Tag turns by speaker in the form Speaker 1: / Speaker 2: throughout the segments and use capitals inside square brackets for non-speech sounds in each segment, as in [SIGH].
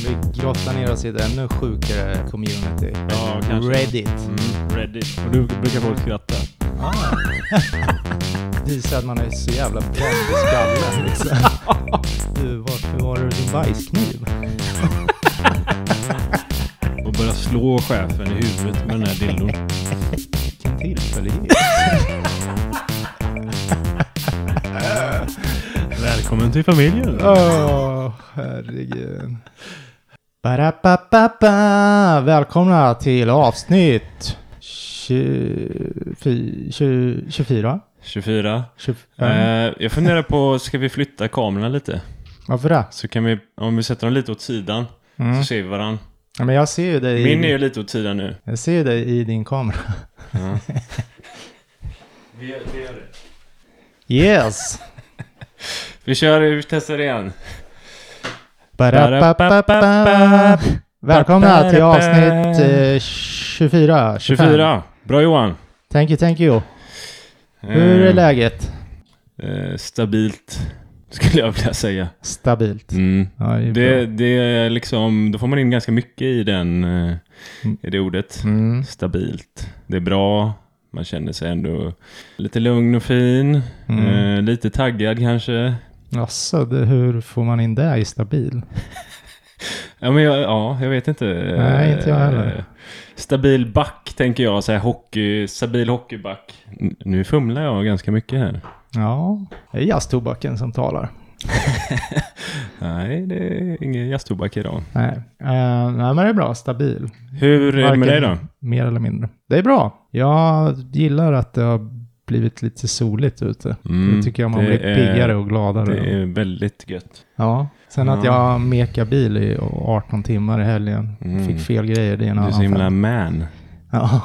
Speaker 1: Vi grottar ner oss i ett ännu sjukare community.
Speaker 2: Ja, kanske.
Speaker 1: Reddit.
Speaker 2: Mm, Reddit. Och du brukar folk skratta.
Speaker 1: Ah. Visar att man är så jävla bränd i skallen
Speaker 2: [LAUGHS]
Speaker 1: liksom. Du, varför var det din bajskniv?
Speaker 2: Och börja slå chefen i huvudet med den här dildon.
Speaker 1: Vilken tillfällighet.
Speaker 2: [LAUGHS] Välkommen till familjen.
Speaker 1: Åh, herregud. Ba-da-ba-ba-ba. Välkomna till avsnitt 20, 20, 24.
Speaker 2: 24.
Speaker 1: 25.
Speaker 2: Eh, jag funderar på, ska vi flytta kamerorna lite?
Speaker 1: Varför det?
Speaker 2: Så kan vi, om vi sätter dem lite åt sidan,
Speaker 1: Mm.
Speaker 2: så ser vi varandra.
Speaker 1: Ja, men jag ser ju dig.
Speaker 2: Min är
Speaker 1: i-
Speaker 2: ju lite åt sidan nu.
Speaker 1: Jag ser ju dig i din kamera.
Speaker 2: Vi, gör, vi gör det.
Speaker 1: Yes!
Speaker 2: Vi kör, vi testar igen.
Speaker 1: Ba-da-ba-ba-ba. Välkomna till avsnitt eh, 24. 25.
Speaker 2: 24. Bra Johan.
Speaker 1: Thank you, thank you. Hur är läget?
Speaker 2: Eh, stabilt, skulle jag vilja säga.
Speaker 1: Stabilt.
Speaker 2: Mm.
Speaker 1: Ja, det är
Speaker 2: Det,
Speaker 1: bra.
Speaker 2: det är liksom, då får man in ganska mycket i, den, eh, i det ordet.
Speaker 1: Mm.
Speaker 2: Stabilt. Det är bra. Man känner sig ändå lite lugn och fin.
Speaker 1: Mm.
Speaker 2: Eh, lite taggad kanske.
Speaker 1: Jaså, det, hur får man in det i stabil?
Speaker 2: Ja, men jag, ja, jag vet inte. Eh,
Speaker 1: Nej, inte jag heller.
Speaker 2: eh, Stabil back tänker jag. Så här hockey, stabil hockeyback. N- Nu fumlar jag ganska mycket här.
Speaker 1: Ja, det är jazztobaken som talar.
Speaker 2: Nej, det är ingen jazztobak idag.
Speaker 1: Nej. Eh, nej, men det är bra. Stabil.
Speaker 2: Hur är det med dig
Speaker 1: Varken
Speaker 2: då?
Speaker 1: Mer eller mindre. Det är bra. Jag gillar att det har blivit lite soligt ute.
Speaker 2: Mm,
Speaker 1: det tycker jag man
Speaker 2: det
Speaker 1: blir
Speaker 2: är-
Speaker 1: piggare och gladare.
Speaker 2: Det är väldigt gött.
Speaker 1: Ja. Sen att
Speaker 2: Ja.
Speaker 1: jag mekar bil i 18 timmar i helgen.
Speaker 2: Mm.
Speaker 1: Fick fel grejer, det är en
Speaker 2: Du är
Speaker 1: annan
Speaker 2: så himla
Speaker 1: femma.
Speaker 2: man. [LAUGHS]
Speaker 1: Ja.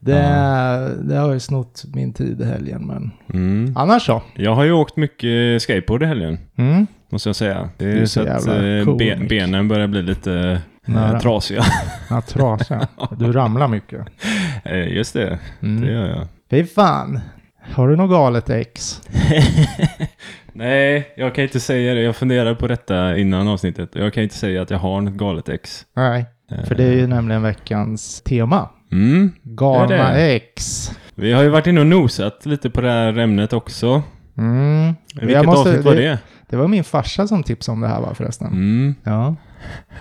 Speaker 1: Det, det har ju snott min tid i helgen, men
Speaker 2: Mm.
Speaker 1: annars så.
Speaker 2: Jag har ju åkt mycket skateboard i helgen,
Speaker 1: Mm.
Speaker 2: måste jag säga. Det
Speaker 1: Du
Speaker 2: är
Speaker 1: är
Speaker 2: så
Speaker 1: så
Speaker 2: att
Speaker 1: jävla
Speaker 2: eh,
Speaker 1: cool,
Speaker 2: ben-
Speaker 1: Mick.
Speaker 2: benen börjar bli lite eh,
Speaker 1: Nära. [LAUGHS]
Speaker 2: trasiga.
Speaker 1: Ja,
Speaker 2: [LAUGHS]
Speaker 1: trasiga. Du ramlar mycket.
Speaker 2: Eh, Just det, det
Speaker 1: Mm.
Speaker 2: gör jag. [LAUGHS]
Speaker 1: Fy fan. Har du något galet ex?
Speaker 2: Nej, jag kan inte säga det. Jag funderade på detta innan avsnittet. Jag kan inte säga att jag har något galet ex.
Speaker 1: Nej,
Speaker 2: Eh,
Speaker 1: för det är ju nämligen veckans tema.
Speaker 2: Mm. Det är
Speaker 1: Galna
Speaker 2: det.
Speaker 1: ex.
Speaker 2: Vi har ju varit inne och nosat lite på det här ämnet också.
Speaker 1: Mm.
Speaker 2: Vilket
Speaker 1: Jag måste-
Speaker 2: avsnitt var det?
Speaker 1: Det var min farsa som tipsade om det här va förresten?
Speaker 2: Mm.
Speaker 1: Ja.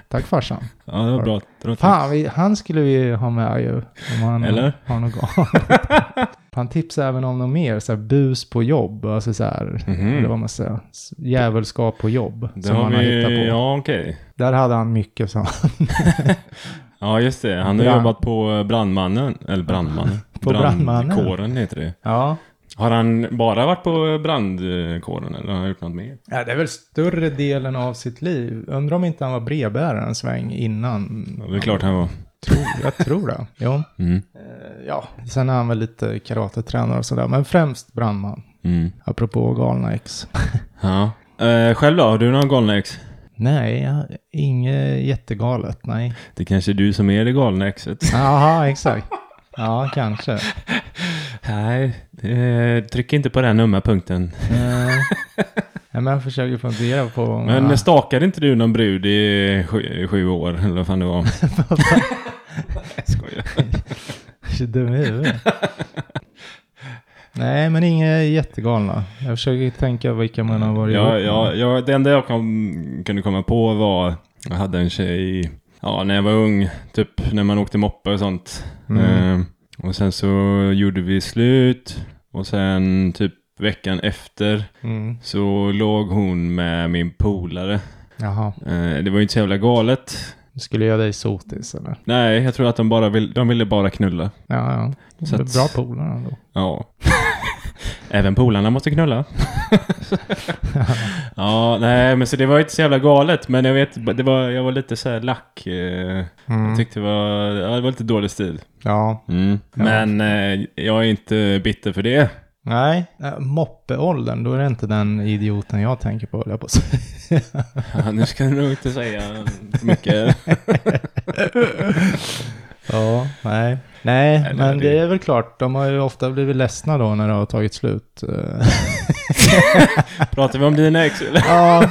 Speaker 1: Tack farsan.
Speaker 2: Ja, det var bra. bra
Speaker 1: Fan, vi, han skulle vi ju ha med ju. Om han
Speaker 2: Eller?
Speaker 1: har något galet. Han tipsade även om något mer, så här bus på jobb, alltså så här,
Speaker 2: Mhm.
Speaker 1: eller vad man säger, s- djävulskap på jobb.
Speaker 2: Det
Speaker 1: som
Speaker 2: har
Speaker 1: han har
Speaker 2: vi,
Speaker 1: hittat på.
Speaker 2: Ja, okej.
Speaker 1: Där hade han mycket som
Speaker 2: Ja, just det. Han har
Speaker 1: Brand-
Speaker 2: jobbat på eh, Brandmannen. Eller Brandmannen.
Speaker 1: [LAUGHS] På Brandmannen.
Speaker 2: Brandkåren heter det.
Speaker 1: Ja.
Speaker 2: Har han bara varit på brandkåren eller har han gjort något mer?
Speaker 1: ja, det är väl större delen av sitt liv. Undrar om inte han var brevbärare en sväng innan.
Speaker 2: Ja, det är klart han var.
Speaker 1: Tror, jag tror det. Jo.
Speaker 2: Mm.
Speaker 1: Eh, Ja, sen är han väl lite karatetränare och sådär, men främst brandman.
Speaker 2: Mm.
Speaker 1: Apropå galna ex.
Speaker 2: Ja. Eh, själv då? Har du någon galna ex?
Speaker 1: Nej, jag- inget jättegalet, nej.
Speaker 2: Det är kanske är du som är det galna exet.
Speaker 1: Jaha, exakt. Ja, kanske.
Speaker 2: [LAUGHS] Nej, eh, tryck inte på den ömma punkten.
Speaker 1: Eh, ja, men jag försöker fundera på...
Speaker 2: Men
Speaker 1: ja.
Speaker 2: stakade inte du någon brud i sju, sju år? Eller vad fan det var? Jag skojar.
Speaker 1: [LAUGHS] är så dum i huvudet. Nej, men inget jättegalna. Jag försöker tänka vilka man har varit
Speaker 2: Ja,
Speaker 1: ihop
Speaker 2: ja, ja, det enda jag kom, kunde komma på var, jag hade en tjej, ja, när jag var ung, typ när man åkte moppe och sånt.
Speaker 1: Mm.
Speaker 2: Eh, och sen så gjorde vi slut och sen typ veckan efter
Speaker 1: med. Mm.
Speaker 2: så låg hon med min polare.
Speaker 1: Jaha.
Speaker 2: Eh, det var ju inte så jävla galet.
Speaker 1: Skulle jag dig sotis eller?
Speaker 2: Nej, jag tror att de bara vill, de ville bara knulla.
Speaker 1: Ja, ja.
Speaker 2: Så att-
Speaker 1: Bra polare ändå.
Speaker 2: Ja. [LAUGHS] Även polarna
Speaker 1: [LAUGHS]
Speaker 2: måste knulla. ja, nej, men så det var inte så jävla galet. Men jag vet, det var, jag var lite så här lack. eh, Jag
Speaker 1: Mm.
Speaker 2: tyckte det var, ja, det var lite dålig stil.
Speaker 1: Ja.
Speaker 2: Men eh, jag är inte bitter
Speaker 1: [LAUGHS]
Speaker 2: för det.
Speaker 1: Nej, eh, moppeåldern, då är det inte den idioten jag tänker på, höll jag på att säga.
Speaker 2: Ja, nu ska du nog inte säga för mycket.
Speaker 1: Ja, nej. Nej,
Speaker 2: Nej,
Speaker 1: men
Speaker 2: det-
Speaker 1: det är väl klart. De har ju ofta blivit ledsna då när det har tagit slut.
Speaker 2: [LAUGHS]
Speaker 1: Eh,
Speaker 2: Pratar vi om
Speaker 1: [LAUGHS]
Speaker 2: dina ex eller?
Speaker 1: ja,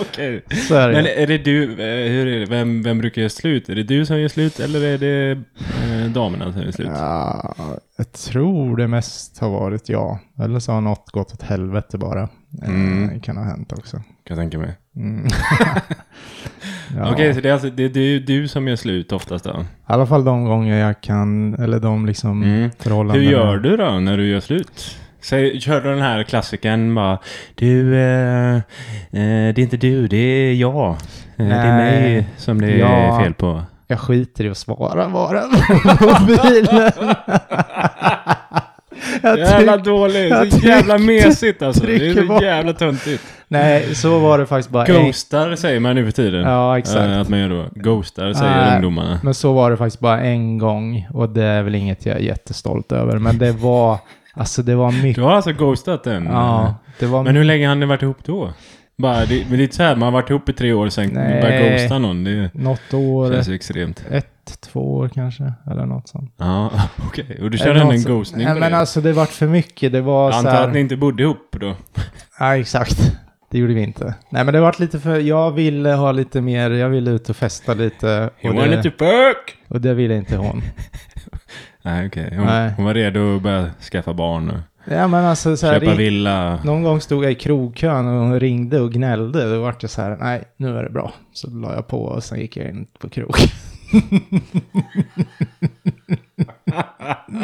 Speaker 2: Okej.
Speaker 1: så är det.
Speaker 2: Men är det du, eh, hur är det? Vem, vem brukar göra slut? Är det du som gör slut eller är det eh, damerna som gör slut?
Speaker 1: Ja, jag tror det mest har varit jag. Eller så har något gått åt helvete bara. Eh,
Speaker 2: Mm.
Speaker 1: kan ha hänt också.
Speaker 2: Kan jag tänka mig. [LAUGHS]
Speaker 1: Mm. ja.
Speaker 2: Okej, så det är alltså det är du, du som gör slut oftast då?
Speaker 1: I alla fall de gånger jag kan, eller de liksom
Speaker 2: Mm. Hur
Speaker 1: förhållanden.
Speaker 2: gör du då när du gör slut? Säg, kör du den här klassiken bara Du, eh, eh, det är inte du, det är jag. Eh, det är
Speaker 1: Nej.
Speaker 2: mig som det är
Speaker 1: Ja.
Speaker 2: fel på.
Speaker 1: Jag skiter i att svara bara på
Speaker 2: [LAUGHS]
Speaker 1: mobilen. jag
Speaker 2: Jävla
Speaker 1: tyck-
Speaker 2: dåligt,
Speaker 1: jag
Speaker 2: så jävla
Speaker 1: tryck-
Speaker 2: mesigt alltså. Det är
Speaker 1: trycker
Speaker 2: så
Speaker 1: bort.
Speaker 2: jävla töntigt.
Speaker 1: Nej, så var det faktiskt bara. en-
Speaker 2: Ghostar säger man nu för tiden.
Speaker 1: Ja, exakt.
Speaker 2: Eh, att man gör då. Ghostar säger
Speaker 1: Nej.
Speaker 2: ungdomarna.
Speaker 1: Men så var det faktiskt bara en gång och det är väl inget jag är jättestolt över. Men det var, alltså det var
Speaker 2: Du
Speaker 1: mycket.
Speaker 2: [LAUGHS] har alltså ghostat den?
Speaker 1: Ja, det var
Speaker 2: Men hur länge har ni varit ihop då? Bara, det, men det är inte så här, man har varit ihop i tre år sen
Speaker 1: Nej.
Speaker 2: börjar ghosta någon. Det
Speaker 1: något år,
Speaker 2: känns ju extremt.
Speaker 1: ett, två år kanske, eller något sånt.
Speaker 2: Ja, [LAUGHS] okej. Och du
Speaker 1: Eller
Speaker 2: körde ändå
Speaker 1: något
Speaker 2: en
Speaker 1: sånt.
Speaker 2: ghostning
Speaker 1: Nej,
Speaker 2: på
Speaker 1: men
Speaker 2: det?
Speaker 1: alltså det vart för mycket. Det var
Speaker 2: Jag
Speaker 1: så
Speaker 2: antar
Speaker 1: här,
Speaker 2: att ni inte bodde ihop då?
Speaker 1: Ja, exakt. Det gjorde vi inte. Nej, men det vart lite för... Jag ville ha lite mer... Jag ville ut och festa lite.
Speaker 2: He
Speaker 1: Och
Speaker 2: wanted to
Speaker 1: det,
Speaker 2: fuck!
Speaker 1: och det ville inte
Speaker 2: [LAUGHS]
Speaker 1: hon.
Speaker 2: Nej, okej. Hon,
Speaker 1: Nej.
Speaker 2: hon var redo att börja skaffa barn och
Speaker 1: Ja, men alltså så här...
Speaker 2: köpa
Speaker 1: ring-
Speaker 2: villa.
Speaker 1: Någon gång stod jag i krogkön och hon ringde och gnällde. Då vart jag så här, nej, nu är det bra. Så la jag på och sen gick jag in på krog. [LAUGHS]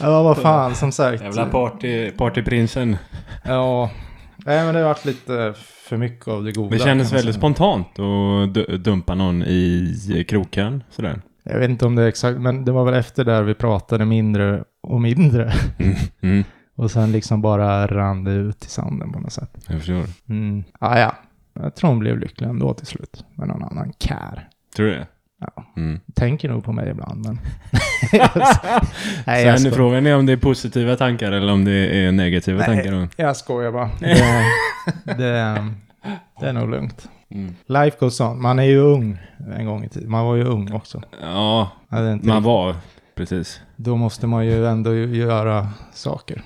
Speaker 1: ja, vad fan, som sagt.
Speaker 2: Jävla party, partyprinsen.
Speaker 1: Ja. Nej, men det vart lite för mycket av det goda.
Speaker 2: Det
Speaker 1: kan man
Speaker 2: kändes
Speaker 1: säga.
Speaker 2: väldigt spontant att d- dumpa någon i kroken sådär.
Speaker 1: Jag vet inte om det är exakt, men det var väl efter där vi pratade mindre och mindre. [LAUGHS]
Speaker 2: Mm,
Speaker 1: Och sen liksom bara rann det ut i sanden på något sätt.
Speaker 2: jag förstår.
Speaker 1: Mm. Ah, ja. Jag tror hon blev lycklig ändå till slut. Men någon annan kär.
Speaker 2: Tror du det?
Speaker 1: Ja.
Speaker 2: Mm.
Speaker 1: Tänker nog på mig ibland,
Speaker 2: [LAUGHS]
Speaker 1: men... Nej, jag,
Speaker 2: Sen
Speaker 1: sko-
Speaker 2: frågan är om det är positiva tankar eller om det är negativa
Speaker 1: Nej.
Speaker 2: tankar. då.
Speaker 1: jag skojar bara. Det, det, det är nog lugnt.
Speaker 2: Mm.
Speaker 1: Life goes on. Man är ju ung en gång i tiden. Man var ju ung också.
Speaker 2: Ja,
Speaker 1: Ja, det är inte
Speaker 2: man var precis.
Speaker 1: Då måste man ju ändå ju- göra saker.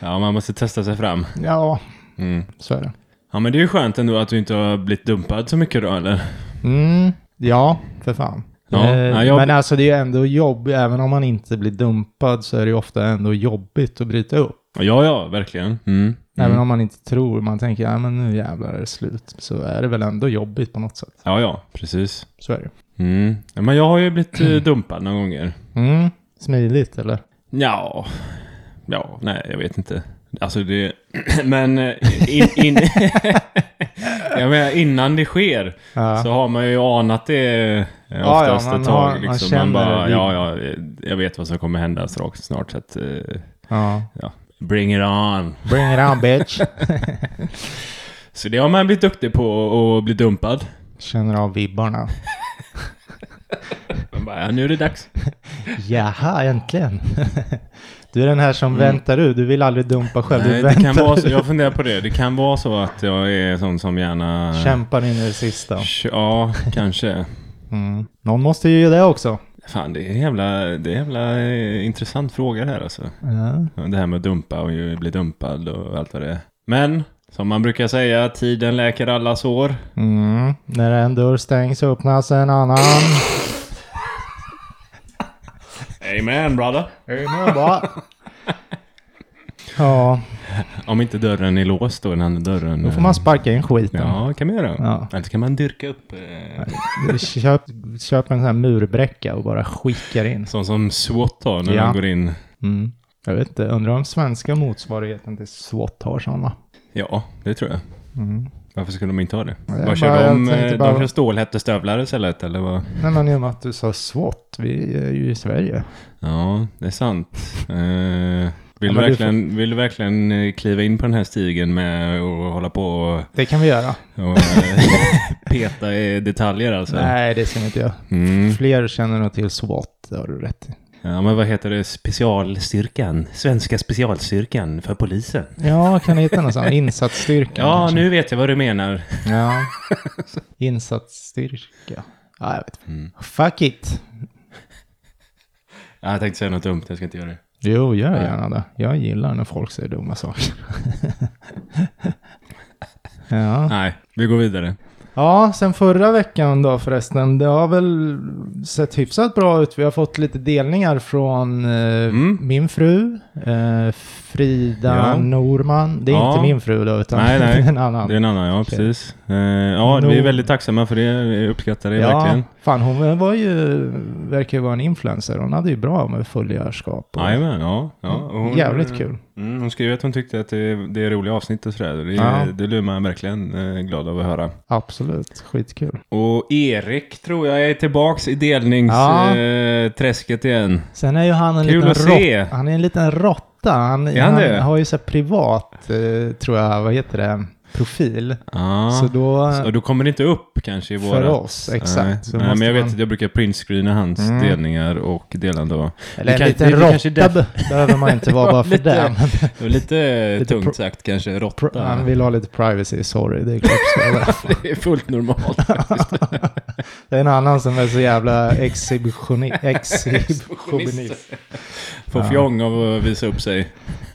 Speaker 2: Ja, man måste testa sig fram.
Speaker 1: Ja,
Speaker 2: Mm.
Speaker 1: så är det.
Speaker 2: Ja, men det är ju skönt ändå att du inte har blivit dumpad så mycket då, eller?
Speaker 1: Mm, ja, för fan.
Speaker 2: Ja,
Speaker 1: Eh,
Speaker 2: ja, jag-
Speaker 1: Men alltså det är ju ändå jobb, även om man inte blir dumpad så är det ju ofta ändå jobbigt att bryta upp.
Speaker 2: Ja, ja, verkligen. Mm.
Speaker 1: Även
Speaker 2: Mm.
Speaker 1: om man inte tror, man tänker ja men nu jävlar är det slut. Så är det väl ändå jobbigt på något sätt.
Speaker 2: Ja, ja, precis.
Speaker 1: Så är det
Speaker 2: Mm. Ja, men jag har ju
Speaker 1: [CLEARS THROAT]
Speaker 2: blivit eh, dumpad några gånger.
Speaker 1: mm, Smidigt eller?
Speaker 2: Ja, ja, nej, jag vet inte. Alltså det... [CLEARS THROAT] men... eh, In, in, [LAUGHS] jag menar, innan det sker
Speaker 1: Ja.
Speaker 2: så har man ju anat det eh,
Speaker 1: Ja,
Speaker 2: oftast
Speaker 1: ja, man
Speaker 2: ett tag.
Speaker 1: har- man
Speaker 2: liksom. man
Speaker 1: känner
Speaker 2: bara,
Speaker 1: det.
Speaker 2: ja, ja, eh, jag vet vad som kommer hända strax, snart. Så att, eh,
Speaker 1: ja.
Speaker 2: bring it on.
Speaker 1: Bring it on bitch.
Speaker 2: Så det har man blivit duktig på, att bli dumpad.
Speaker 1: [LAUGHS] Känner av vibbarna.
Speaker 2: Man bara, ja, nu är det dags.
Speaker 1: Jaha, äntligen. [LAUGHS] Du är den här som väntar ut, du vill aldrig dumpa själv.
Speaker 2: Nej,
Speaker 1: du
Speaker 2: det
Speaker 1: väntar
Speaker 2: kan vara så,
Speaker 1: ut.
Speaker 2: jag funderar på det. Det kan vara så att jag är sån som gärna...
Speaker 1: Kämpar in i det sista.
Speaker 2: Ja, kanske.
Speaker 1: Mm. Någon måste ju göra det också.
Speaker 2: Fan, det är en jävla, det är en jävla eh, intressant fråga det här alltså.
Speaker 1: Ja.
Speaker 2: Det här med att dumpa och ju bli dumpad och allt vad det är. Men, som man brukar säga, tiden läker alla sår.
Speaker 1: Mm. När en dörr stängs öppnas en [LAUGHS] annan.
Speaker 2: Amen brother.
Speaker 1: ja,
Speaker 2: Om inte dörren är låst då, den andra dörren. eh,
Speaker 1: då får man sparka in skiten.
Speaker 2: Ja, kan man göra.
Speaker 1: Ja.
Speaker 2: Eller kan man dyrka upp. Eh,
Speaker 1: Köp, köp en sån här murbräcka och bara skickar in.
Speaker 2: sån som SWAT har när
Speaker 1: Ja.
Speaker 2: de går in.
Speaker 1: Mm. Jag vet inte, undrar om svenska motsvarigheten till SWAT har sådana.
Speaker 2: Ja, det tror jag.
Speaker 1: Mm.
Speaker 2: Varför skulle de inte ha det?
Speaker 1: Nej,
Speaker 2: Vad kör
Speaker 1: bara- jag
Speaker 2: de?
Speaker 1: tänkte
Speaker 2: eh,
Speaker 1: bara-
Speaker 2: De kör stålhättestövlar istället eller vad?
Speaker 1: Nej men i och med att du sa SWAT, vi är ju i Sverige.
Speaker 2: Ja, det är sant. Eh, vill,
Speaker 1: men
Speaker 2: du
Speaker 1: du
Speaker 2: verkligen, vill du verkligen eh, kliva in på den här stigen med och hålla på och,
Speaker 1: Det kan vi göra.
Speaker 2: och
Speaker 1: [LAUGHS]
Speaker 2: eh, peta i detaljer alltså?
Speaker 1: Nej, det ska vi inte göra.
Speaker 2: Mm.
Speaker 1: Fler känner nog till SWAT, det har du rätt i.
Speaker 2: Ja, men vad heter det? Specialstyrkan? Svenska specialstyrkan för polisen?
Speaker 1: Ja, kan du hitta någon sån? [LAUGHS] Insatsstyrka
Speaker 2: Ja,
Speaker 1: kanske?
Speaker 2: nu vet jag vad du menar.
Speaker 1: Ja. Insatsstyrka. Ja, jag vet.
Speaker 2: Mm.
Speaker 1: Fuck it.
Speaker 2: Ja, Jag tänkte säga något dumt, jag ska inte göra det.
Speaker 1: Jo, gör
Speaker 2: Ja.
Speaker 1: gärna det. Jag gillar när folk säger dumma saker. [LAUGHS] ja.
Speaker 2: Nej, vi går vidare.
Speaker 1: ja, sen förra veckan då förresten. Det har väl sett hyfsat bra ut. Vi har fått lite delningar från eh,
Speaker 2: Mm.
Speaker 1: min fru, eh, Frida
Speaker 2: Ja.
Speaker 1: Norman. Det är
Speaker 2: Ja.
Speaker 1: inte min fru då, utan
Speaker 2: Nej,
Speaker 1: [LAUGHS]
Speaker 2: nej.
Speaker 1: en annan.
Speaker 2: Det är en annan, ja precis. Eh, ja, vi är väldigt tacksamma för det. Vi uppskattar det verkligen.
Speaker 1: fan hon var ju, verkar ju vara en influencer. Hon hade ju bra med följarskap. Och,
Speaker 2: Jajamän, ja. ja. Och hon-
Speaker 1: jävligt kul.
Speaker 2: Mm, hon skrev att hon tyckte att det, det är roliga avsnitt och sådär. Det,
Speaker 1: Ja.
Speaker 2: det blir man verkligen eh, glad av att höra.
Speaker 1: Absolut, skitkul.
Speaker 2: Och Erik tror jag är tillbaks i
Speaker 1: Ja.
Speaker 2: delningsträsket igen.
Speaker 1: Sen är ju han en
Speaker 2: Kul
Speaker 1: liten
Speaker 2: att se.
Speaker 1: råtta. Han är en liten råtta. Han,
Speaker 2: Är han det?
Speaker 1: har ju så här privat, eh, tror jag, vad heter det, profil.
Speaker 2: Ja.
Speaker 1: Så då,
Speaker 2: Så då kommer det inte upp kanske i våra...
Speaker 1: för oss,
Speaker 2: Nej,
Speaker 1: exakt. så
Speaker 2: nej
Speaker 1: måste
Speaker 2: men jag vet
Speaker 1: man-
Speaker 2: att jag brukar printscreena hans
Speaker 1: Mm.
Speaker 2: delningar och delande. och-
Speaker 1: Eller en
Speaker 2: kan-
Speaker 1: liten
Speaker 2: det- det kanske är
Speaker 1: råtta be- [LAUGHS] behöver man inte vara bara för
Speaker 2: Lite.
Speaker 1: det. men
Speaker 2: Det var lite,
Speaker 1: [LAUGHS] Lite pro-
Speaker 2: tungt sagt kanske, råtta.
Speaker 1: pr- Han vill ha lite privacy, sorry. Det är, klart jag ska vara.
Speaker 2: [LAUGHS] det är fullt normalt.
Speaker 1: [LAUGHS] det är en annan som är så jävla
Speaker 2: [LAUGHS]
Speaker 1: exhibitioni- exhibitionist.
Speaker 2: Få fjong av att visa upp sig.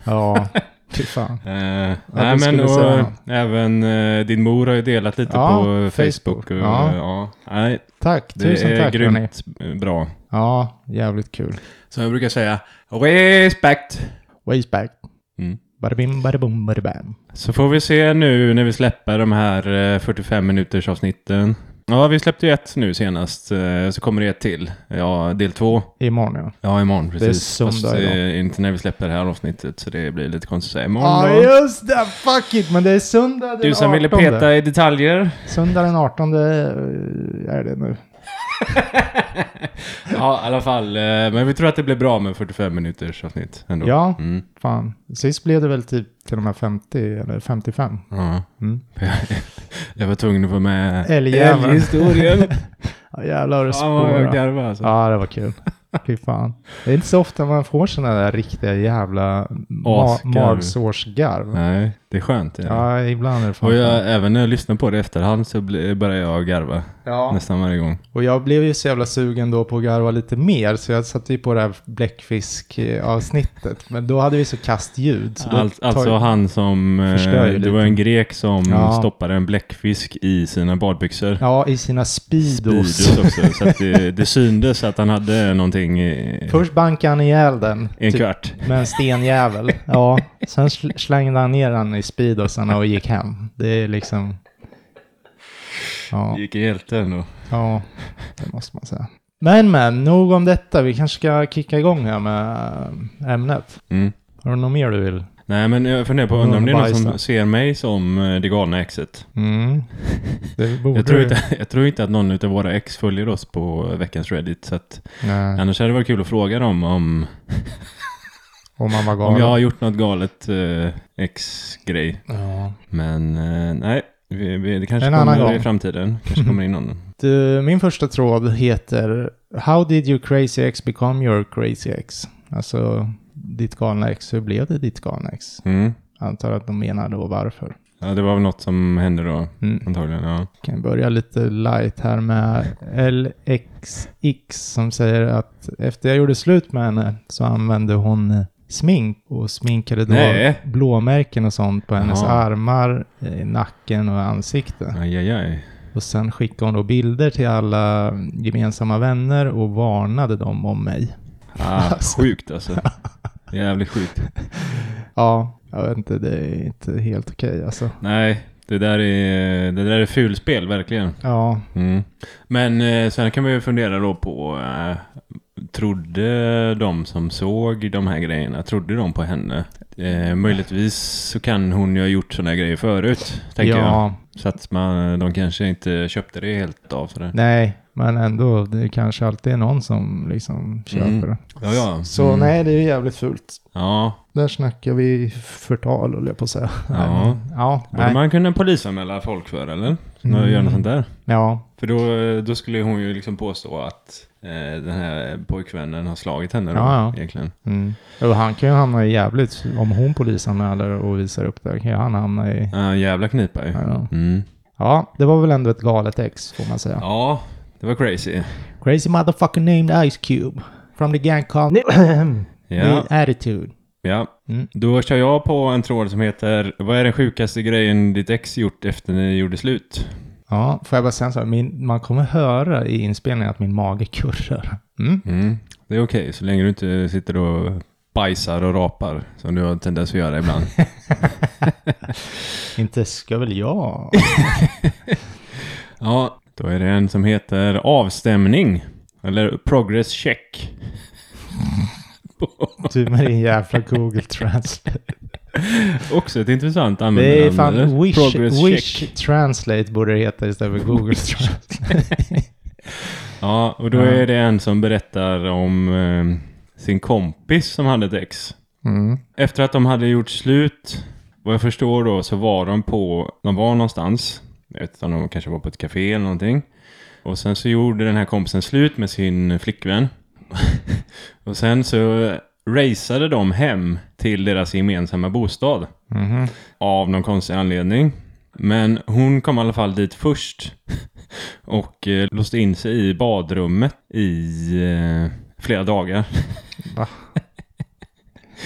Speaker 1: Ja, fy fan.
Speaker 2: Eh, nej, men
Speaker 1: skulle säga
Speaker 2: och,
Speaker 1: något.
Speaker 2: även eh, din mor har ju delat lite
Speaker 1: Ja,
Speaker 2: på eh,
Speaker 1: Facebook.
Speaker 2: Facebook. och,
Speaker 1: Ja.
Speaker 2: ja. nej,
Speaker 1: Tack,
Speaker 2: det
Speaker 1: tusen
Speaker 2: är
Speaker 1: tack hörni.
Speaker 2: grymt bra.
Speaker 1: Ja, jävligt kul.
Speaker 2: Som jag brukar säga, respect!
Speaker 1: Ways back.
Speaker 2: Mm.
Speaker 1: Badabim, badabum, badabam.
Speaker 2: Så får vi se nu när vi släpper de här eh, 45 minuters avsnitten. Ja, vi släppte ju ett nu senast, eh, så kommer det ett till. Ja, del två.
Speaker 1: Imorgon ja.
Speaker 2: Ja, imorgon precis.
Speaker 1: söndag
Speaker 2: Fast,
Speaker 1: idag.
Speaker 2: eh, inte när vi släpper det här avsnittet, så det blir lite konstigt att säga imorgon.
Speaker 1: Ja,
Speaker 2: då.
Speaker 1: just det! Fuck it! Men det är söndag den 18.
Speaker 2: Du som ville peta i detaljer.
Speaker 1: Söndag den 18 eh, är det nu.
Speaker 2: Ja, i alla fall. eh, Men vi tror att det blir bra med 45 minuters avsnitt ändå.
Speaker 1: Ja.
Speaker 2: Mm.
Speaker 1: Fan. Sist blev det väl typ till de här 50 eller 55.
Speaker 2: ja. [LAUGHS]
Speaker 1: Mm.
Speaker 2: Jag var tvungen att få med
Speaker 1: Älgjäveln. [LAUGHS]
Speaker 2: älghistorien.
Speaker 1: Ja, jävlar det
Speaker 2: Fan vad jag
Speaker 1: spårar.
Speaker 2: garvade alltså.
Speaker 1: Ja, det var
Speaker 2: [LAUGHS]
Speaker 1: kul. Fy fan. Det är inte så ofta man får sådana där riktiga jävla ma-
Speaker 2: Asgarv.
Speaker 1: magsårsgarv.
Speaker 2: Nej, det är skönt. det är det.
Speaker 1: Ja, ibland är det fan
Speaker 2: Och jag, även när jag lyssnar på det i efterhand så blir- börjar jag garva
Speaker 1: Ja.
Speaker 2: nästan varje gång.
Speaker 1: Och jag blev ju så jävla sugen då på att garva lite mer, så jag satte ju på det här bläckfisk-avsnittet. Men då hade vi så kast ljud. Så då
Speaker 2: Allt-
Speaker 1: tar-
Speaker 2: alltså han som... eh,
Speaker 1: Förstör ju
Speaker 2: Det
Speaker 1: lite.
Speaker 2: var en grek som
Speaker 1: Ja.
Speaker 2: stoppade en bläckfisk i sina badbyxor.
Speaker 1: Ja, i sina speedos.
Speaker 2: Speedos också. Så
Speaker 1: [LAUGHS]
Speaker 2: att det, det syndes att han hade någonting i
Speaker 1: Först bankade han ihjäl den.
Speaker 2: en
Speaker 1: typ,
Speaker 2: kvart.
Speaker 1: Med en stenjävel. Ja, sen sl- slängde han ner den i speedosarna och gick hem. Det är liksom... Ja,
Speaker 2: Gick i hjälte ändå.
Speaker 1: ja, det måste man säga. Men men, nog om detta. Vi kanske ska kicka igång här med eh, ämnet.
Speaker 2: Mm.
Speaker 1: Har du något mer du vill?
Speaker 2: Nej men jag funderar på, undrar om det är någon som ser mig som eh, det galna exet.
Speaker 1: Mm. Det borde
Speaker 2: Jag tror,
Speaker 1: du-
Speaker 2: inte, [LAUGHS] jag tror inte att någon av våra ex följer oss på veckans Reddit. Så att,
Speaker 1: Nej.
Speaker 2: annars hade det varit kul att fråga dem om,
Speaker 1: Om man var galen.
Speaker 2: om jag har gjort något galet eh, ex-grej.
Speaker 1: Ja.
Speaker 2: Men eh, nej, vi, vi, det kanske
Speaker 1: En annan
Speaker 2: kommer
Speaker 1: gång.
Speaker 2: i framtiden. kanske kommer
Speaker 1: [LAUGHS]
Speaker 2: in någon.
Speaker 1: Du, min första tråd heter How did your crazy ex become your crazy ex? Alltså, ditt galna ex, hur blev det ditt galna ex?
Speaker 2: Mm.
Speaker 1: Antar att de menar då varför.
Speaker 2: Ja, det var väl något som hände då
Speaker 1: Mm.
Speaker 2: antagligen. Ja.
Speaker 1: Kan börja lite light här med LXX som säger att efter jag gjorde slut med henne så använde hon smink och sminkade då
Speaker 2: Nej.
Speaker 1: blåmärken och sånt på hennes
Speaker 2: Jaha.
Speaker 1: armar, eh, nacken och ansikte.
Speaker 2: Aj, aj, aj.
Speaker 1: Och sen skickade hon då bilder till alla gemensamma vänner och varnade dem om mig. [LAUGHS]
Speaker 2: Ah, sjukt alltså. Jävligt sjukt.
Speaker 1: Ja, jag vet inte, det är inte helt okej alltså.
Speaker 2: Nej, det där är, det där är fulspel verkligen.
Speaker 1: Ja,
Speaker 2: Mm. Men eh, sen kan man ju fundera då på, eh, trodde de som såg de här grejerna, trodde de på henne? Eh, möjligtvis så kan hon ju ha gjort sådana grejer förut, tänker jag.
Speaker 1: ja
Speaker 2: Så att man, de kanske inte köpte det helt av sådär.
Speaker 1: nej, men ändå, det kanske alltid är någon som liksom köper
Speaker 2: Mm.
Speaker 1: det.
Speaker 2: Ja, ja.
Speaker 1: Så
Speaker 2: Mm.
Speaker 1: nej, det är jävligt fult.
Speaker 2: Ja,
Speaker 1: Där snackar vi förtal, höll jag på att säga. Nej,
Speaker 2: Ja.
Speaker 1: men- ja,
Speaker 2: borde
Speaker 1: nej.
Speaker 2: man kunna polisanmäla folk för eller? Nå-
Speaker 1: Mm.
Speaker 2: Göra något sånt där?
Speaker 1: ja,
Speaker 2: För då, då skulle hon ju liksom påstå att eh, den här pojkvännen har slagit henne då,
Speaker 1: Ja, ja.
Speaker 2: egentligen.
Speaker 1: mm. Och han kan ju hamna i jävligt, om hon polisanmäler och visar upp det, kan ju han hamna i...
Speaker 2: Ja, jävla knipa ju.
Speaker 1: Ja.
Speaker 2: Mm.
Speaker 1: ja, det var väl ändå ett galet ex, får man säga.
Speaker 2: Ja, Det var crazy.
Speaker 1: Crazy motherfucker named Ice Cube. From the gang called [CLEARS THROAT]
Speaker 2: Ja,
Speaker 1: The Attitude.
Speaker 2: ja.
Speaker 1: Mm.
Speaker 2: Då kör jag på en tråd som heter Vad är den sjukaste grejen ditt ex gjort efter ni gjorde slut?
Speaker 1: Ja, får jag bara säga så här, min, man kommer höra i inspelningen att min mage kurrar. Mm.
Speaker 2: Mm. Det är okej, så länge du inte sitter och bajsar och rapar som du har tendens att
Speaker 1: [LAUGHS]
Speaker 2: göra ibland.
Speaker 1: Inte ska väl jag?
Speaker 2: ja, då är det en som heter Avstämning. Eller Progress Check.
Speaker 1: Du med din jävla Google Translate.
Speaker 2: Också ett intressant användarnamn.
Speaker 1: Det är fan
Speaker 2: eller?
Speaker 1: Wish,
Speaker 2: Progress
Speaker 1: wish
Speaker 2: Check.
Speaker 1: Translate borde det heta istället för [LAUGHS] Google Translate.
Speaker 2: Ja, och då
Speaker 1: Ja.
Speaker 2: är det en som berättar om eh, sin kompis som hade ett ex.
Speaker 1: Mm.
Speaker 2: Efter att de hade gjort slut, vad jag förstår då, så var de på, de var någonstans. Jag vet inte om de kanske var på ett café eller någonting. Och sen så gjorde den här kompisen slut med sin flickvän. [LAUGHS] och sen så raceade de hem till deras gemensamma bostad.
Speaker 1: Mhm.
Speaker 2: Av någon konstig anledning. Men hon kom i alla fall dit först. [LAUGHS] Och eh, låste in sig i badrummet i eh, flera dagar. [LAUGHS]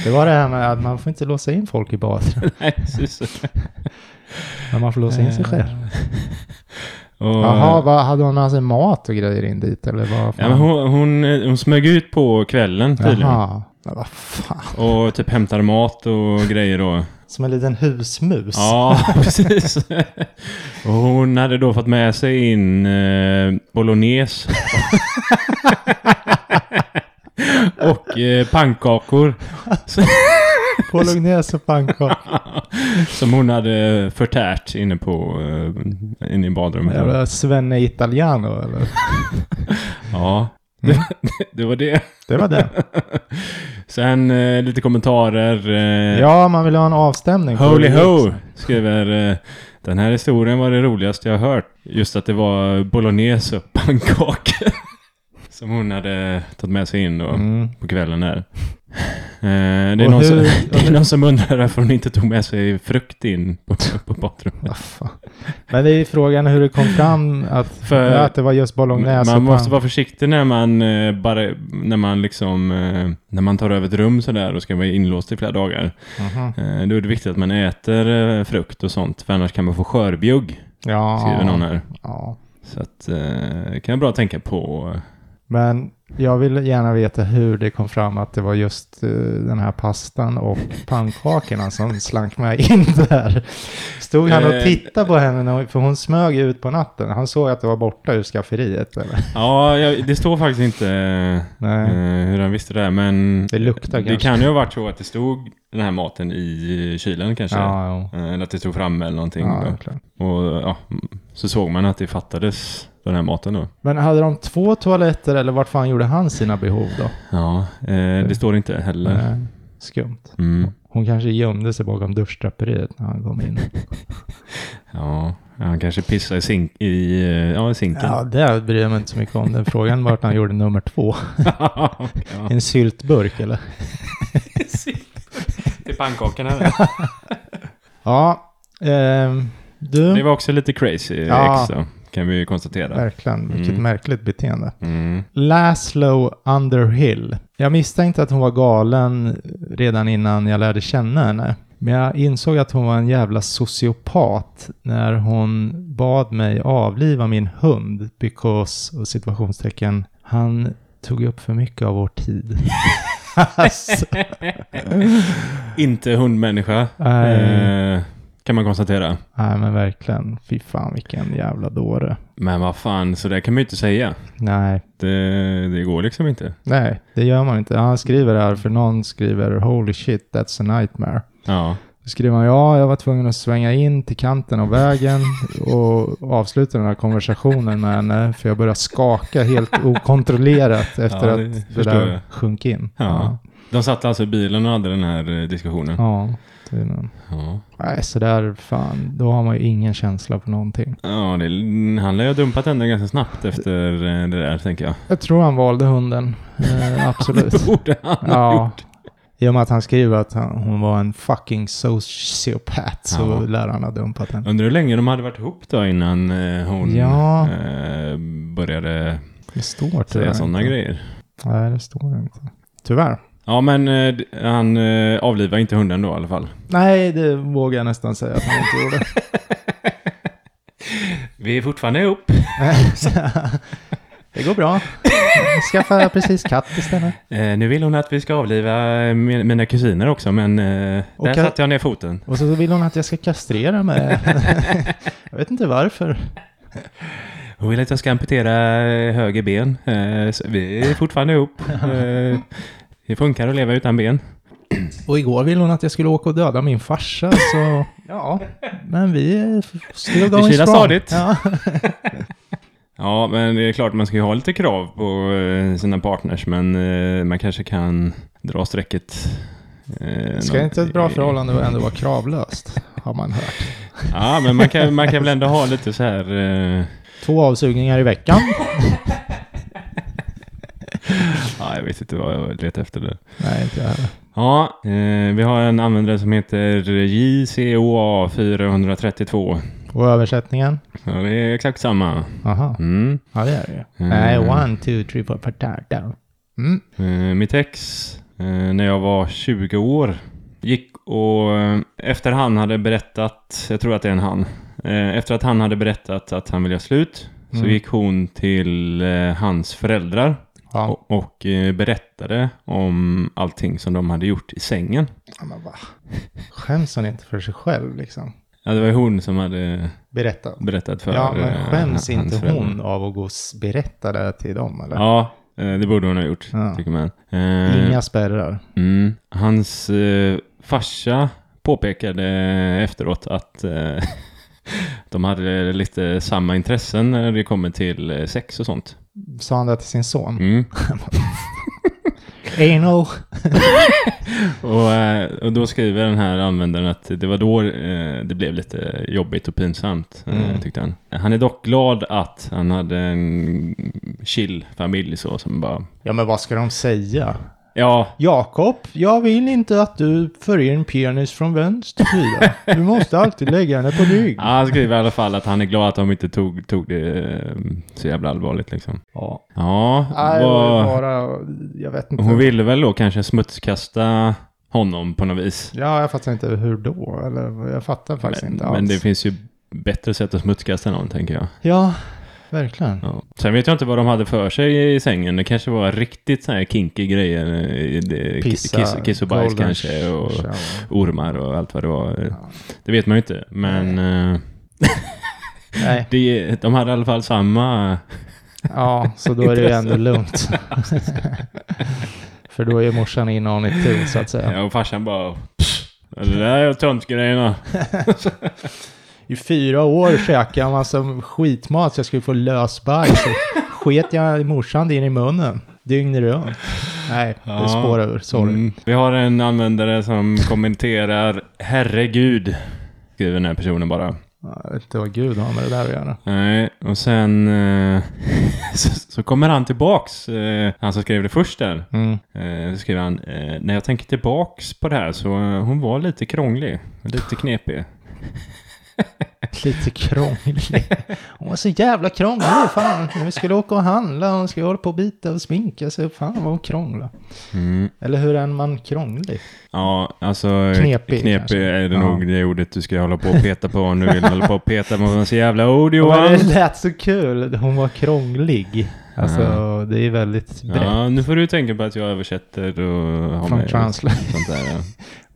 Speaker 1: Det var det här med att man får inte låsa in folk i badrum.
Speaker 2: Nej, precis.
Speaker 1: Men man får låsa in sig själv.
Speaker 2: [LAUGHS] Och,
Speaker 1: Jaha, vad, hade hon med sig mat och grejer in dit eller vad?
Speaker 2: Ja, men hon, hon, hon smög ut på kvällen tydligen.
Speaker 1: Jaha. Men vad fan.
Speaker 2: Och typ hämtade mat och
Speaker 1: [LAUGHS]
Speaker 2: grejer då.
Speaker 1: Som en liten husmus.
Speaker 2: Ja, [LAUGHS] precis. Och hon hade då fått med sig in eh, bolognese. [LAUGHS] och eh, pannkakor.
Speaker 1: Bolognese och pannkaka.
Speaker 2: Som hon hade förtärt inne på eh, inne i badrummet.
Speaker 1: Jävla Svenne Italiano eller?
Speaker 2: Ja,
Speaker 1: Mm.
Speaker 2: [LAUGHS] det, det var det.
Speaker 1: Det var det.
Speaker 2: Sen eh, lite kommentarer. Eh,
Speaker 1: Ja, man vill ha en avstämning. på
Speaker 2: Holy
Speaker 1: hur det
Speaker 2: ho!
Speaker 1: gick.
Speaker 2: Skriver eh, Den här historien var det roligaste jag hört. Just att det var bolognese och pannkakor. [LAUGHS] Som hon hade tagit med sig in då
Speaker 1: Mm.
Speaker 2: på kvällen där. Eh, det, är
Speaker 1: Och
Speaker 2: någon som,
Speaker 1: hur-
Speaker 2: [LAUGHS] det är någon som undrar varför hon inte tog med sig frukt in på, på badrummet.
Speaker 1: Vad fan. Men det är ju frågan hur det kom fram att,
Speaker 2: För-
Speaker 1: att det var just bolognese
Speaker 2: Man
Speaker 1: och
Speaker 2: måste
Speaker 1: pan-
Speaker 2: vara försiktig när man eh, bara, när man liksom, eh, när man tar över ett rum sådär och ska vara inlåst i flera dagar.
Speaker 1: Mhm.
Speaker 2: Eh, Då är det viktigt att man äter eh, frukt och sånt, för annars kan man få skörbjugg,
Speaker 1: Ja.
Speaker 2: skriver någon här.
Speaker 1: ja.
Speaker 2: Så att, eh, kan jag bra tänka på.
Speaker 1: Men jag vill gärna veta hur det kom fram att det var just eh, den här pastan och pannkakorna som slank med in där. Stod han och
Speaker 2: Eh.
Speaker 1: tittade på henne, när- för hon smög ut på natten. Han såg att det var borta ur skafferiet. Eller?
Speaker 2: Ja, jag, det står faktiskt inte eh,
Speaker 1: Nej,
Speaker 2: hur han visste det här, men
Speaker 1: det luktar
Speaker 2: det
Speaker 1: kanske.
Speaker 2: kan ju ha varit så att det stod den här maten i kylen kanske.
Speaker 1: Ja, jo.
Speaker 2: Eh, Eller att det stod framme eller någonting.
Speaker 1: ja,
Speaker 2: då.
Speaker 1: klart.
Speaker 2: Och ja, mm, så såg man att det fattades den här maten då.
Speaker 1: Men hade de två toaletter eller vart fan gjorde han sina behov då?
Speaker 2: Ja, eh, det står inte heller.
Speaker 1: Nej, Skumt.
Speaker 2: Mm.
Speaker 1: Hon kanske gömde sig bakom duschdraperiet när han kom in.
Speaker 2: Ja, han kanske pissade i, sink, i, eh, [LAUGHS] ja, i sinken.
Speaker 1: Ja, det bryr jag mig inte så mycket om. Den frågan vart han gjorde nummer två.
Speaker 2: [LAUGHS] ja.
Speaker 1: En syltburk eller?
Speaker 2: Till pannkakorna.
Speaker 1: Ja, ehm, du.
Speaker 2: Det var också lite crazy
Speaker 1: Ja.
Speaker 2: ex då, kan vi ju konstatera.
Speaker 1: Verkligen, vilket
Speaker 2: Mm.
Speaker 1: märkligt beteende.
Speaker 2: Mm.
Speaker 1: Laszlo Underhill. Jag misstänkte att hon var galen redan innan jag lärde känna henne. Men jag insåg att hon var en jävla sociopat när hon bad mig avliva min hund because, och situationstecken, han tog upp för mycket av vår tid. [LAUGHS] alltså,
Speaker 2: Inte hundmänniska,
Speaker 1: nej,
Speaker 2: eh, kan man konstatera.
Speaker 1: nej, men verkligen. Fy fan vilken jävla dåre.
Speaker 2: Men vad fan, så där kan man ju inte säga.
Speaker 1: Nej,
Speaker 2: Det, det går liksom inte.
Speaker 1: nej, det gör man inte. Han skriver här för någon skriver holy shit that's a nightmare.
Speaker 2: Ja,
Speaker 1: Då skrev han ja, jag var tvungen att svänga in till kanten av vägen och avsluta den här konversationen med henne för jag började skaka helt okontrollerat efter
Speaker 2: Ja, det
Speaker 1: att det
Speaker 2: förstår
Speaker 1: där
Speaker 2: jag.
Speaker 1: sjönk in.
Speaker 2: Ja. de satt alltså i bilen och hade den här eh, diskussionen.
Speaker 1: ja tydligen.
Speaker 2: Ja,
Speaker 1: Nej, så där fan, då har man ju ingen känsla för någonting.
Speaker 2: ja det, han lär ju ha dumpat henne ganska snabbt efter eh, det där, tänker jag. [LAUGHS]
Speaker 1: Jag tror han valde hunden, eh, absolut.
Speaker 2: Borde han ha
Speaker 1: ja.
Speaker 2: gjort.
Speaker 1: I och med att han skriver att han, hon var en fucking sociopat så
Speaker 2: Ja.
Speaker 1: lär han ha dumpat henne.
Speaker 2: Undrar hur länge de hade varit ihop då innan eh, hon
Speaker 1: Ja.
Speaker 2: eh, började
Speaker 1: Det står tyvärr
Speaker 2: säga sådana
Speaker 1: inte.
Speaker 2: grejer.
Speaker 1: Nej, det står inte. Tyvärr.
Speaker 2: Ja, men eh, d- han eh, avlivade inte hunden då i alla fall.
Speaker 1: Nej, det vågar jag nästan säga att han inte gjorde.
Speaker 2: Vi är fortfarande ihop.
Speaker 1: [LAUGHS] det går bra. Skaffa precis katt istället.
Speaker 2: Eh, nu vill hon att vi ska avliva eh, mi- mina kusiner också, men eh,
Speaker 1: Okej.
Speaker 2: där satte jag ner foten.
Speaker 1: Och så vill hon att jag ska kastrera mig. jag vet inte varför.
Speaker 2: Hon vill att jag ska amputera eh, höger ben. Eh, så vi är
Speaker 1: [LAUGHS]
Speaker 2: fortfarande ihop. Eh, det funkar att leva utan ben.
Speaker 1: Och igår ville hon att jag skulle åka och döda min farsa, så ja. Men vi är f- still going
Speaker 2: kilar
Speaker 1: strong.
Speaker 2: stadigt.
Speaker 1: Ja.
Speaker 2: Ja, men det är klart man ska ju ha lite krav på eh, sina partners, men eh, man kanske kan dra strecket. eh,
Speaker 1: Ska
Speaker 2: någon-
Speaker 1: inte ett bra förhållande ändå vara kravlöst? Har man hört.
Speaker 2: Ja, men man kan, man kan väl
Speaker 1: [LAUGHS]
Speaker 2: ändå ha lite så här... eh,
Speaker 1: Två avsugningar i veckan.
Speaker 2: Ja, jag vet inte vad jag letar efter där.
Speaker 1: Nej, inte jag heller.
Speaker 2: Ja, eh, vi har en användare som heter JCOA432.
Speaker 1: Och översättningen?
Speaker 2: Ja, det är exakt samma.
Speaker 1: Aha.
Speaker 2: Mm.
Speaker 1: Ja, det är det ju.
Speaker 2: Mm.
Speaker 1: Nej, one, two, three, four, potato. Mm.
Speaker 2: Eh, mitt ex, eh, när jag var 20 år, gick och eh, efter han hade berättat, jag tror att det är en han, eh, efter att han hade berättat att han ville göra slut, så
Speaker 1: Mm.
Speaker 2: gick hon till eh, hans föräldrar
Speaker 1: Ja.
Speaker 2: och, och eh, berättade om allting som de hade gjort i sängen.
Speaker 1: ja, men va? [LAUGHS] Skäms hon inte för sig själv liksom?
Speaker 2: Ja, det var ju hon som hade
Speaker 1: Berätta.
Speaker 2: berättat för
Speaker 1: Ja,
Speaker 2: eh,
Speaker 1: men skäms
Speaker 2: hans
Speaker 1: inte
Speaker 2: föräldrar.
Speaker 1: hon av att gå och s- berätta det här till dem eller?
Speaker 2: Ja, eh, det borde hon ha gjort,
Speaker 1: Ja.
Speaker 2: tycker man. Eh,
Speaker 1: Inga spärrar.
Speaker 2: Mm. Hans eh, farsa påpekade efteråt att eh, [LAUGHS] de hade lite samma intressen när det kommer till eh, sex och sånt.
Speaker 1: Sa han det till sin son?
Speaker 2: Mm.
Speaker 1: Anal.
Speaker 2: Och, eh, och då skriver den här användaren att det var då eh, det blev lite jobbigt och pinsamt, eh,
Speaker 1: Mm.
Speaker 2: tyckte han. Han är dock glad att han hade en chill familj så som bara,
Speaker 1: Ja, men vad ska de säga?
Speaker 2: ja,
Speaker 1: Jakob, jag vill inte att du för in penis från vänster sida. Du måste alltid lägga den på rygg.
Speaker 2: Ja, han skriver i alla fall att han är glad att de inte tog, tog det eh, så jävla allvarligt liksom.
Speaker 1: Ja.
Speaker 2: Ja,
Speaker 1: Nej, det var ju
Speaker 2: vad,
Speaker 1: bara... Jag vet inte.
Speaker 2: hon ville väl då kanske smutskasta honom på något vis.
Speaker 1: Ja, jag fattar inte hur då. Eller, jag fattar faktiskt
Speaker 2: Men,
Speaker 1: inte
Speaker 2: men
Speaker 1: alls.
Speaker 2: det finns ju bättre sätt att smutskasta någon, tänker jag.
Speaker 1: Ja, verkligen.
Speaker 2: Ja. Sen vet jag inte vad de hade för sig i sängen. Det kanske var riktigt så här kinky grejer. eh, det- kiss, kiss och bajs
Speaker 1: golden
Speaker 2: kanske. Och
Speaker 1: shower.
Speaker 2: ormar och allt vad det var. Det vet man ju inte. Men eh,
Speaker 1: Nej,
Speaker 2: det, de hade i alla fall samma...
Speaker 1: ja, så då är det ju ändå
Speaker 2: [LAUGHS]
Speaker 1: lugnt. För då är morsan inne on it too, så att säga.
Speaker 2: Ja, och farsan bara... "Pff, Det där är töntgrejerna.
Speaker 1: I fyra år käkade jag massa skitmat så jag skulle få lösbajs. Så sket jag morsan in i munnen dygnet runt. Nej,
Speaker 2: Ja.
Speaker 1: det spårar ur. Sorry.
Speaker 2: Mm. Vi har en användare som kommenterar Herregud. Skriver den här personen bara.
Speaker 1: Ja, Jag vet inte vad Gud har med det där att göra.
Speaker 2: Nej, och sen eh, [LAUGHS] så, så kommer han tillbaks. Eh, han som skrev det först där.
Speaker 1: Mm.
Speaker 2: Eh, så skriver han. Eh, när jag tänker tillbaks på det här så eh, hon var lite krånglig. Lite knepig.
Speaker 1: Lite krånglig. Hon var så jävla krånglig. Fan. När vi skulle åka och handla. Hon skulle hålla på och bita och sminka sig. Fan vad hon krångla.
Speaker 2: Mm.
Speaker 1: Eller hur är man krånglig?
Speaker 2: Ja, alltså eh,
Speaker 1: Knepig, kanske.
Speaker 2: knepig är det
Speaker 1: Ja.
Speaker 2: nog det ordet du ska hålla på och peta på. Nu vill du hålla på och peta på massa jävla ord
Speaker 1: Men
Speaker 2: Johan.
Speaker 1: Det lät så kul. Hon var krånglig. Alltså det är väldigt brett.
Speaker 2: Ja, nu får du tänka på att jag översätter och har
Speaker 1: Från
Speaker 2: med
Speaker 1: Translate.
Speaker 2: [LAUGHS] sånt där. Ja.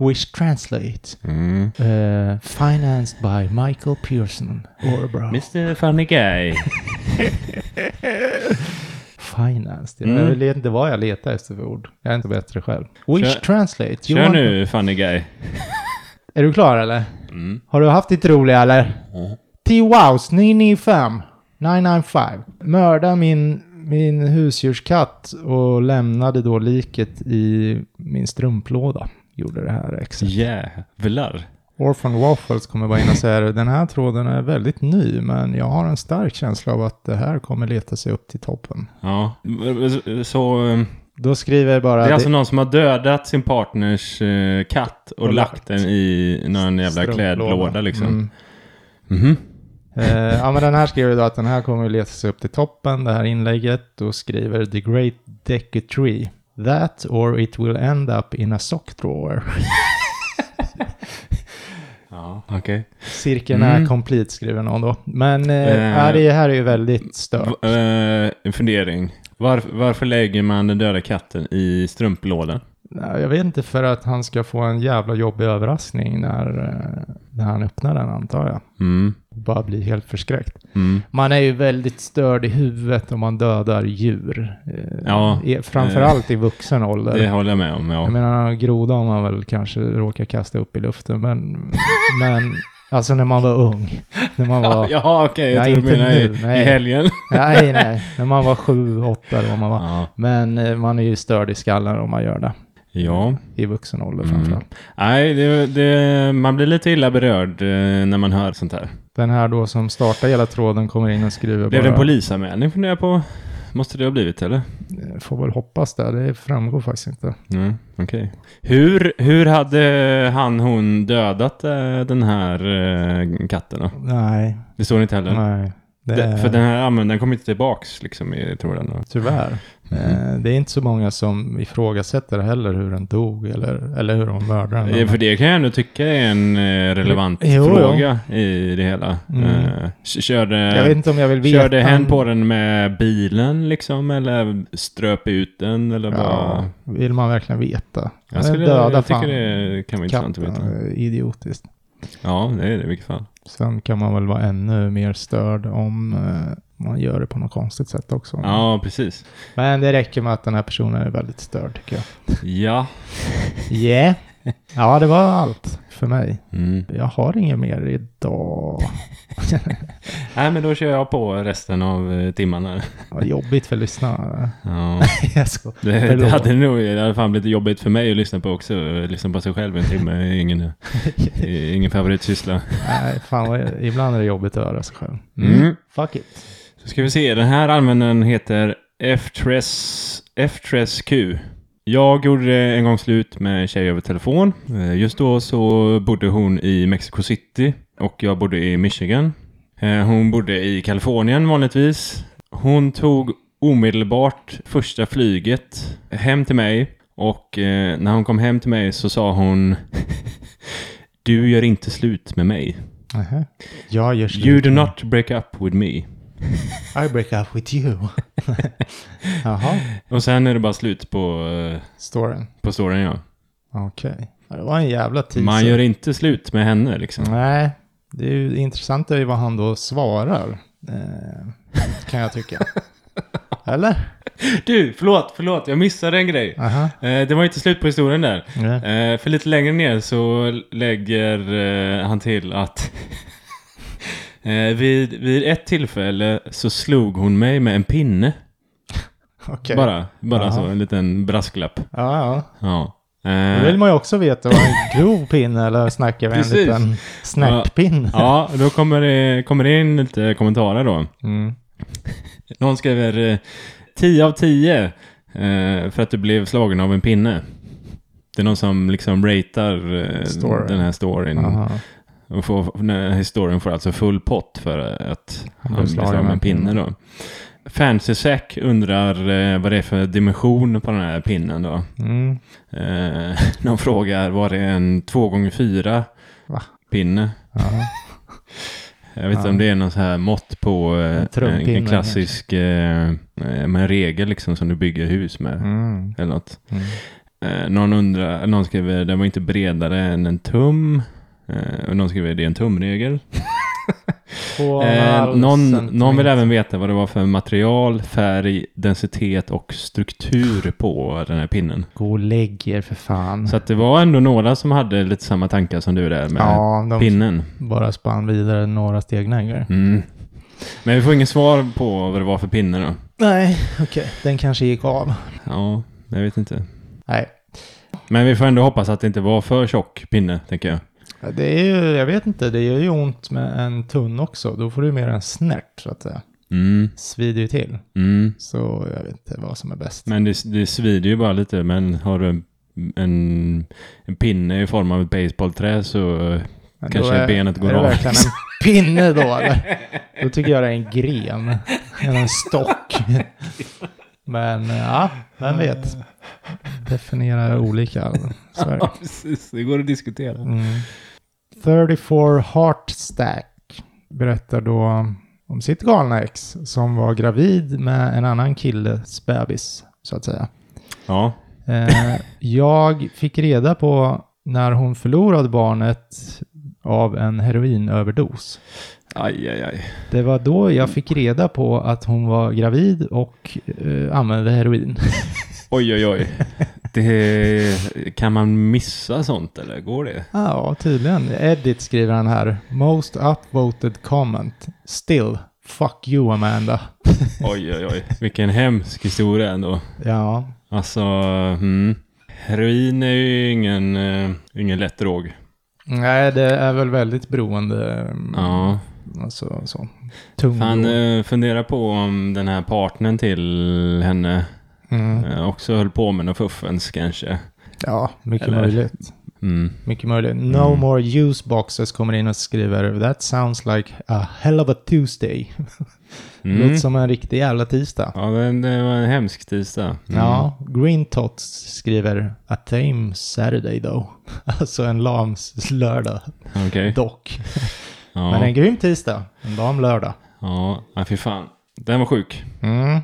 Speaker 1: Which translate.
Speaker 2: Mm.
Speaker 1: Eh, financed by Michael Pearson. Orbro.
Speaker 2: Mr Funny Guy.
Speaker 1: Financed.
Speaker 2: Mm.
Speaker 1: Jag vet inte vad jag letar efter för ord. Jag är inte bättre själv. Which
Speaker 2: Kör-
Speaker 1: translate.
Speaker 2: Kör
Speaker 1: Johan-
Speaker 2: nu Funny Guy.
Speaker 1: Är du klar eller?
Speaker 2: Mm.
Speaker 1: Har du haft ditt roliga eller?
Speaker 2: Ja.
Speaker 1: T-Wows 995. 995. Mörda min, min husdjurskatt och lämnade då liket i min strumplåda. Gjorde det här exet.
Speaker 2: Jävlar.
Speaker 1: Orphan Waffles kommer bara in och säger den här tråden är väldigt ny men jag har en stark känsla av att det här kommer leta sig upp till toppen.
Speaker 2: Ja, så eh,
Speaker 1: Då skriver jag bara...
Speaker 2: det är alltså någon som har dödat sin partners eh, katt och,
Speaker 1: Och
Speaker 2: lagt
Speaker 1: lagt
Speaker 2: den i någon jävla liksom.
Speaker 1: strumplåda.
Speaker 2: klädlåda liksom.
Speaker 1: Mm.
Speaker 2: Mhm.
Speaker 1: Eh, ja, men den här skriver då att den här kommer att leta sig upp till toppen, det här inlägget, och skriver The Great Deku Tree. That or it will end up in a sock drawer.
Speaker 2: Ja, okej.
Speaker 1: Cirkeln är
Speaker 2: Mm.
Speaker 1: complete skriver någon då. Men eh,
Speaker 2: Eh.
Speaker 1: ja, det här är ju väldigt stört.
Speaker 2: V- eh, En fundering. Varf- varför lägger man den döda katten i strumplådan?
Speaker 1: Nej, Jag vet inte, för att han ska få en jävla jobbig överraskning när, eh, när han öppnar den antar jag.
Speaker 2: Mm.
Speaker 1: Bara bli helt förskräckt.
Speaker 2: Mm.
Speaker 1: Man är ju väldigt störd i huvudet om man dödar djur. Eh,
Speaker 2: Ja,
Speaker 1: i- Framförallt i vuxen ålder.
Speaker 2: Det håller jag med om.
Speaker 1: Jag
Speaker 2: Ja.
Speaker 1: menar, en groda har man väl kanske råkat kasta upp i luften, men, men alltså när man var ung. När man var,
Speaker 2: Ja, okej.
Speaker 1: Nej,
Speaker 2: jag tror du
Speaker 1: inte
Speaker 2: menar i,
Speaker 1: nu, nej.
Speaker 2: i helgen.
Speaker 1: nej, nej, när man var sju, åtta eller vad man var.
Speaker 2: Ja.
Speaker 1: Men eh, man är ju störd i skallen om man gör det.
Speaker 2: ja.
Speaker 1: I vuxen ålder
Speaker 2: Mm.
Speaker 1: framförallt.
Speaker 2: Nej, det, det, man blir lite illa berörd eh, när man hör sånt här.
Speaker 1: Den här då som startar hela tråden kommer in och skriver
Speaker 2: Blev det
Speaker 1: bara.
Speaker 2: en polisanmälan funderar jag på? Måste det ha blivit eller?
Speaker 1: Eh, Får väl hoppas det, det framgår faktiskt inte.
Speaker 2: Mm, okej. Hur, hur hade han hon dödat eh, den här eh, katten då?
Speaker 1: Nej,
Speaker 2: Det står inte heller.
Speaker 1: nej. Det
Speaker 2: Det,
Speaker 1: är,
Speaker 2: för den här användaren kommer inte tillbaks liksom i tråden.
Speaker 1: Tyvärr.
Speaker 2: Mm.
Speaker 1: Eh, Det är inte så många som ifrågasätter heller hur den dog eller, eller hur de mördade den.
Speaker 2: Eh, För det kan jag ändå tycka är en eh, relevant
Speaker 1: Jo, jo.
Speaker 2: fråga i det hela.
Speaker 1: Mm.
Speaker 2: Eh, k-
Speaker 1: Jag vet
Speaker 2: körde
Speaker 1: inte om jag vill veta.
Speaker 2: körde hen på den med bilen liksom? Eller ströp ut den? Eller
Speaker 1: Ja,
Speaker 2: bara...
Speaker 1: vill man verkligen veta?
Speaker 2: Jag, skulle,
Speaker 1: Döda
Speaker 2: jag tycker
Speaker 1: fan
Speaker 2: det kan vara intressant att
Speaker 1: katten.
Speaker 2: veta.
Speaker 1: eh, Idiotiskt.
Speaker 2: Ja, det är det i vilket fall.
Speaker 1: Sen kan man väl vara ännu mer störd om eh, man gör det på något konstigt sätt också.
Speaker 2: Ja, precis.
Speaker 1: Men det räcker med att den här personen är väldigt störd tycker jag.
Speaker 2: Ja.
Speaker 1: Yeah. Ja, det var allt för mig.
Speaker 2: Mm.
Speaker 1: Jag har inget mer idag.
Speaker 2: Nej, men då kör jag på resten av eh, timmarna. här.
Speaker 1: Vad jobbigt för lyssnarna. [LAUGHS]
Speaker 2: Ja.
Speaker 1: Jag skojar.
Speaker 2: Det, det
Speaker 1: Förlåt.
Speaker 2: hade nog i alla fall blivit jobbigt för mig att lyssna på också. Lyssna på sig själv en timme är
Speaker 1: [LAUGHS]
Speaker 2: ingen, är ingen favoritsyssla.
Speaker 1: Nej, fan vad, ibland är det jobbigt att höra sig själv.
Speaker 2: Mm.
Speaker 1: Fuck it.
Speaker 2: Så ska vi se, den här användaren heter F-Tress F-Tress-Q. Jag gjorde en gång slut med en tjej över telefon. Eh, Just då så bodde hon i Mexico City och jag bodde i Michigan. Eh, Hon bodde i Kalifornien vanligtvis. Hon tog omedelbart första flyget hem till mig och eh, när hon kom hem till mig så sa hon [LAUGHS] Du gör inte slut med mig.
Speaker 1: Nähä. Jag gör slut.
Speaker 2: You do not break up with me.
Speaker 1: I break up with you. [LAUGHS] Jaha,
Speaker 2: Och sen är det bara slut på, eh,
Speaker 1: storyn.
Speaker 2: på storyn ja.
Speaker 1: Okej. Ja, Det var en jävla teaser.
Speaker 2: Man gör inte slut med henne liksom.
Speaker 1: Nej, det är ju intressant är ju vad han då svarar. Eh, kan jag [LAUGHS] tycka. Eller?
Speaker 2: Du, förlåt, förlåt, jag missade en grej.
Speaker 1: Aha.
Speaker 2: Eh, det var inte slut på historien där.
Speaker 1: Nej.
Speaker 2: Eh, för lite längre ner så lägger eh, han till att [LAUGHS] eh, vid, vid ett tillfälle så slog hon mig med en pinne.
Speaker 1: Okej.
Speaker 2: Bara, bara
Speaker 1: Jaha.
Speaker 2: så, en liten brasklapp.
Speaker 1: Ja, ja.
Speaker 2: Ja.
Speaker 1: Då
Speaker 2: Eh,
Speaker 1: vill man ju också veta. Var det en grov pinne eller snackar vi en
Speaker 2: Precis.
Speaker 1: liten snärtpinne?
Speaker 2: ja, då kommer det, kommer det in lite kommentarer då.
Speaker 1: Mm.
Speaker 2: Någon skriver eh, 10 av 10 eh, för att du blev slagen av en pinne. Det är någon som liksom ratear eh,
Speaker 1: Storyn.
Speaker 2: den här storyn.
Speaker 1: Aha.
Speaker 2: Och får, den här historien får alltså full pott för att han
Speaker 1: blev
Speaker 2: blev
Speaker 1: slagen
Speaker 2: slagen
Speaker 1: av
Speaker 2: med
Speaker 1: en
Speaker 2: en pinne då. Fancy Sack undrar eh, vad det är för dimension på den här pinnen då.
Speaker 1: Mm.
Speaker 2: Eh, [LAUGHS] någon frågar, var det en 2x4
Speaker 1: Va?
Speaker 2: pinne?
Speaker 1: Ja.
Speaker 2: Jag vet inte
Speaker 1: Ja.
Speaker 2: om det är någon så här mått på eh,
Speaker 1: En
Speaker 2: en,
Speaker 1: trumpinne
Speaker 2: en klassisk eh, eh, med en regel liksom som du bygger hus med.
Speaker 1: Mm.
Speaker 2: Eller något.
Speaker 1: Mm.
Speaker 2: Eh, någon, undrar, någon skriver den var inte bredare än en tum. Eh, och någon skriver det är en tumregel.
Speaker 1: Två och en
Speaker 2: Eh,
Speaker 1: halv
Speaker 2: någon, någon vill
Speaker 1: centimeter.
Speaker 2: även veta vad det var för material, färg, densitet och struktur på den här pinnen.
Speaker 1: Gå och lägg er för fan.
Speaker 2: Så att det var ändå några som hade lite samma tankar som du där med
Speaker 1: ja, de
Speaker 2: pinnen.
Speaker 1: bara spann vidare några steg längre.
Speaker 2: Mm. Men vi får ingen svar på vad det var för pinne då.
Speaker 1: Nej, okej. Den kanske gick av.
Speaker 2: Ja, jag vet inte.
Speaker 1: Nej,
Speaker 2: Men vi får ändå hoppas att det inte var för tjock pinne, tänker jag.
Speaker 1: det är ju, jag vet inte, det gör ju ont med en tunn också. Då får du mer en snärt så att säga.
Speaker 2: Mm,
Speaker 1: Svider ju till.
Speaker 2: mm.
Speaker 1: Så jag vet inte vad som är bäst.
Speaker 2: Men det, det svider ju bara lite, men har du en, en, en pinne i form av ett baseballträ så eh,
Speaker 1: Men
Speaker 2: Kanske
Speaker 1: då är,
Speaker 2: benet går
Speaker 1: är det
Speaker 2: av.
Speaker 1: verkligen en pinne
Speaker 2: [LAUGHS]
Speaker 1: då eller? Då tycker jag det är en gren. Eller en stock. Men ja, vem vet. Definierar olika. alltså. Så är det.
Speaker 2: Ja, precis. Det går att diskutera.
Speaker 1: Mm. 34 Heartstack berättar då om sitt galna ex som var gravid med en annan killes bebis, så att säga.
Speaker 2: Ja.
Speaker 1: Eh, jag fick reda på när hon förlorade barnet av en heroinöverdos.
Speaker 2: Aj, aj, aj.
Speaker 1: Det var då jag fick reda på att hon var gravid och eh, använde heroin.
Speaker 2: Oj, oj, oj. Det, kan man missa sånt eller? Går det?
Speaker 1: Ja, tydligen. Edit skriver han här. Most upvoted comment. Still. Fuck you Amanda.
Speaker 2: Oj, oj, oj. Vilken hemsk historia ändå.
Speaker 1: Ja,
Speaker 2: Alltså, mm. Heroin är ju ingen, eh, ingen lätt drog.
Speaker 1: Nej, det är väl väldigt beroende. mm,
Speaker 2: Ja.
Speaker 1: Alltså så. Tung.
Speaker 2: Fan, eh, fundera på om den här partnern till henne
Speaker 1: mm.
Speaker 2: eh, också höll på med något fuffens kanske.
Speaker 1: Ja, mycket
Speaker 2: eller-
Speaker 1: möjligt.
Speaker 2: Mm.
Speaker 1: Mycket möjligt. No
Speaker 2: Mm.
Speaker 1: more use boxes kommer in och skriver That sounds like a hell of a Tuesday.
Speaker 2: Mm.
Speaker 1: Låter som en riktig jävla tisdag.
Speaker 2: Ja, det, det var en hemsk tisdag. Mm.
Speaker 1: Ja, Green Tots skriver A tame Saturday though. [LAUGHS] alltså en lams lördag
Speaker 2: Okej.
Speaker 1: dock.
Speaker 2: Ja.
Speaker 1: Men en grym tisdag. En lam lördag.
Speaker 2: Ja, nej, fy fan. Den var sjuk.
Speaker 1: Mm.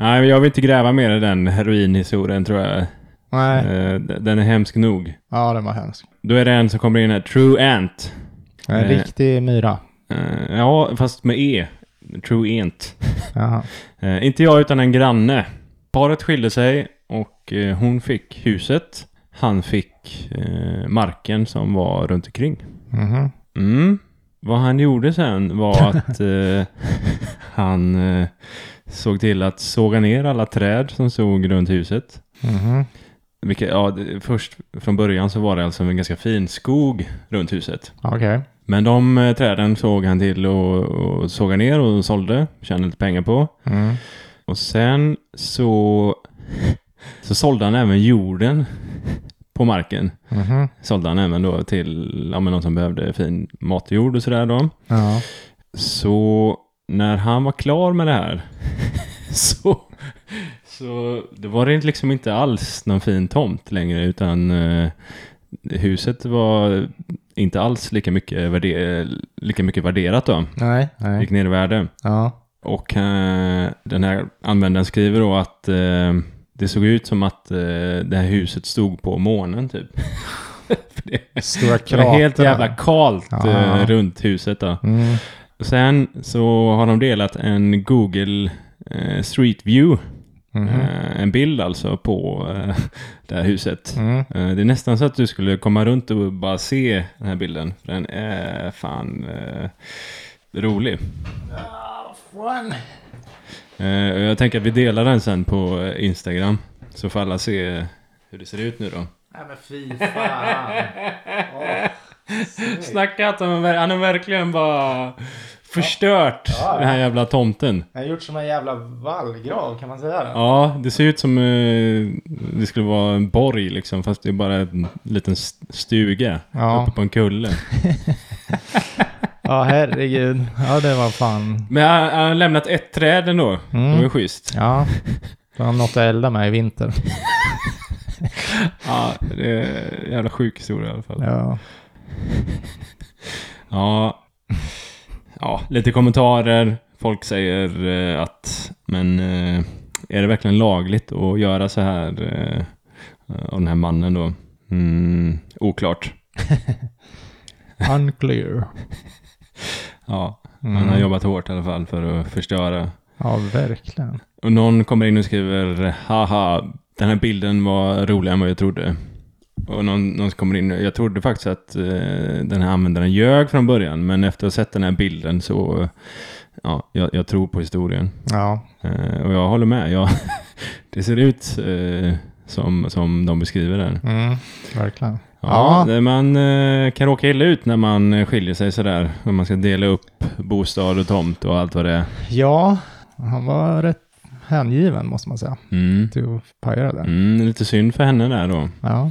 Speaker 2: Nej, men jag vill inte gräva mer i den heroinhistorien tror jag.
Speaker 1: Nej,
Speaker 2: Eh, d- Den är hemsk nog.
Speaker 1: ja den var hemsk.
Speaker 2: Då är det en som kommer in här, True Ant.
Speaker 1: En
Speaker 2: Eh.
Speaker 1: riktig myra.
Speaker 2: Eh, Ja, fast med E. True Ant.
Speaker 1: Jaha.
Speaker 2: Eh, Inte jag utan en granne. Paret skilde sig och eh, hon fick huset. Han fick eh, marken som var runt omkring.
Speaker 1: Mhm.
Speaker 2: Mm. Vad han gjorde sen var att eh, han eh, såg till att såga ner alla träd som stod runt huset.
Speaker 1: Mhm.
Speaker 2: Vilket, ja, det- först från början så var det alltså en ganska fin skog runt huset.
Speaker 1: Okej.
Speaker 2: Men de eh, träden såg han till och, och såga ner och sålde, tjänade lite pengar på.
Speaker 1: Mm.
Speaker 2: Och sen så, [LAUGHS] så sålde han även jorden på marken.
Speaker 1: Mhm.
Speaker 2: Sålde han även då till ja, men någon som behövde fin matjord och sådär då.
Speaker 1: Ja.
Speaker 2: Så när han var klar med det här [LAUGHS] så, så det var det liksom inte alls någon fin tomt längre utan eh, huset var inte alls lika mycket, värde, lika mycket värderat då.
Speaker 1: Nej. Nej.
Speaker 2: Gick ner i värde.
Speaker 1: Ja.
Speaker 2: Och eh, den här användaren skriver då att eh, det såg ut som att eh, det här huset stod på månen typ.
Speaker 1: Stora
Speaker 2: Det var
Speaker 1: krater.
Speaker 2: helt jävla kallt
Speaker 1: Ja.
Speaker 2: eh, runt huset då.
Speaker 1: Mm.
Speaker 2: Sen så har de delat en Google eh, Street View,
Speaker 1: Mhm.
Speaker 2: eh, en bild alltså på eh, det här huset.
Speaker 1: Mm.
Speaker 2: Eh, det är nästan så att du skulle komma runt och bara se den här bilden. För den är fan eh, rolig. Eh, och jag tänker att vi delar den sen på eh, Instagram. Så får alla se hur det ser ut nu då.
Speaker 1: Nej men fy fan.
Speaker 2: Snacka att han, han har verkligen bara förstört den här jävla tomten.
Speaker 1: Jag har gjort som en jävla vallgrav, kan man säga det?
Speaker 2: Ja, det ser ut som eh, det skulle vara en borg liksom, fast det är bara en liten st- stuga
Speaker 1: Ja.
Speaker 2: uppe på en kulle.
Speaker 1: Ja, herregud. Ja, det var fan.
Speaker 2: Men han, han har lämnat ett träd ändå. Det var ju schysst.
Speaker 1: Ja. Det var något att elda med i vinter.
Speaker 2: Ja, det är en jävla sjuk historia i alla fall.
Speaker 1: Ja.
Speaker 2: Ja. ja, lite kommentarer. Folk säger eh, att, men eh, är det verkligen lagligt att göra så här eh, av den här mannen då? Mm, oklart.
Speaker 1: Unclear.
Speaker 2: Ja,
Speaker 1: Mm.
Speaker 2: han har jobbat hårt i alla fall för att förstöra
Speaker 1: Ja, verkligen.
Speaker 2: Och någon kommer in och skriver Haha, den här bilden var roligare än vad jag trodde. Och någon, någon kommer in Jag trodde faktiskt att eh, den här användaren ljög från början. Men efter att ha sett den här bilden så eh, Ja, jag, jag tror på historien.
Speaker 1: Ja.
Speaker 2: Eh, och jag håller med. Jag, [LAUGHS] det ser ut eh, som, som de beskriver den.
Speaker 1: Mm. Verkligen.
Speaker 2: Ja,
Speaker 1: Ja.
Speaker 2: det- Man eh, kan råka illa ut när man eh, skiljer sig sådär. När man ska dela upp bostad och tomt och allt vad det är.
Speaker 1: Ja, han var rätt hängiven måste man säga.
Speaker 2: Mm.
Speaker 1: Till att paja det där.
Speaker 2: Mm, lite synd för henne där då.
Speaker 1: Ja.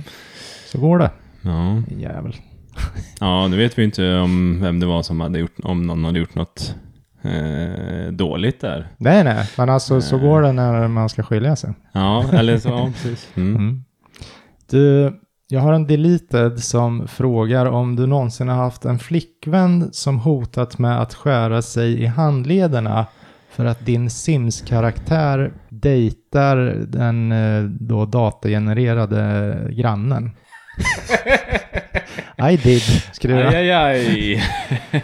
Speaker 1: Så går det.
Speaker 2: Ja.
Speaker 1: Jävel.
Speaker 2: Ja, nu vet vi inte om vem det var som hade gjort, om någon hade gjort något eh, dåligt där.
Speaker 1: Nej, nej, men alltså så går det när man ska skilja sig.
Speaker 2: Ja,
Speaker 1: [LAUGHS]
Speaker 2: eller så, ja, precis. Mm.
Speaker 1: Mm. Du, jag har en deleted som frågar om du någonsin har haft en flickvän som hotat med att skära sig i handlederna för att din Sims-karaktär dejtar den eh, då datagenererade
Speaker 2: [LAUGHS]
Speaker 1: grannen. I did, skriver
Speaker 2: Aj,
Speaker 1: jag.
Speaker 2: aj,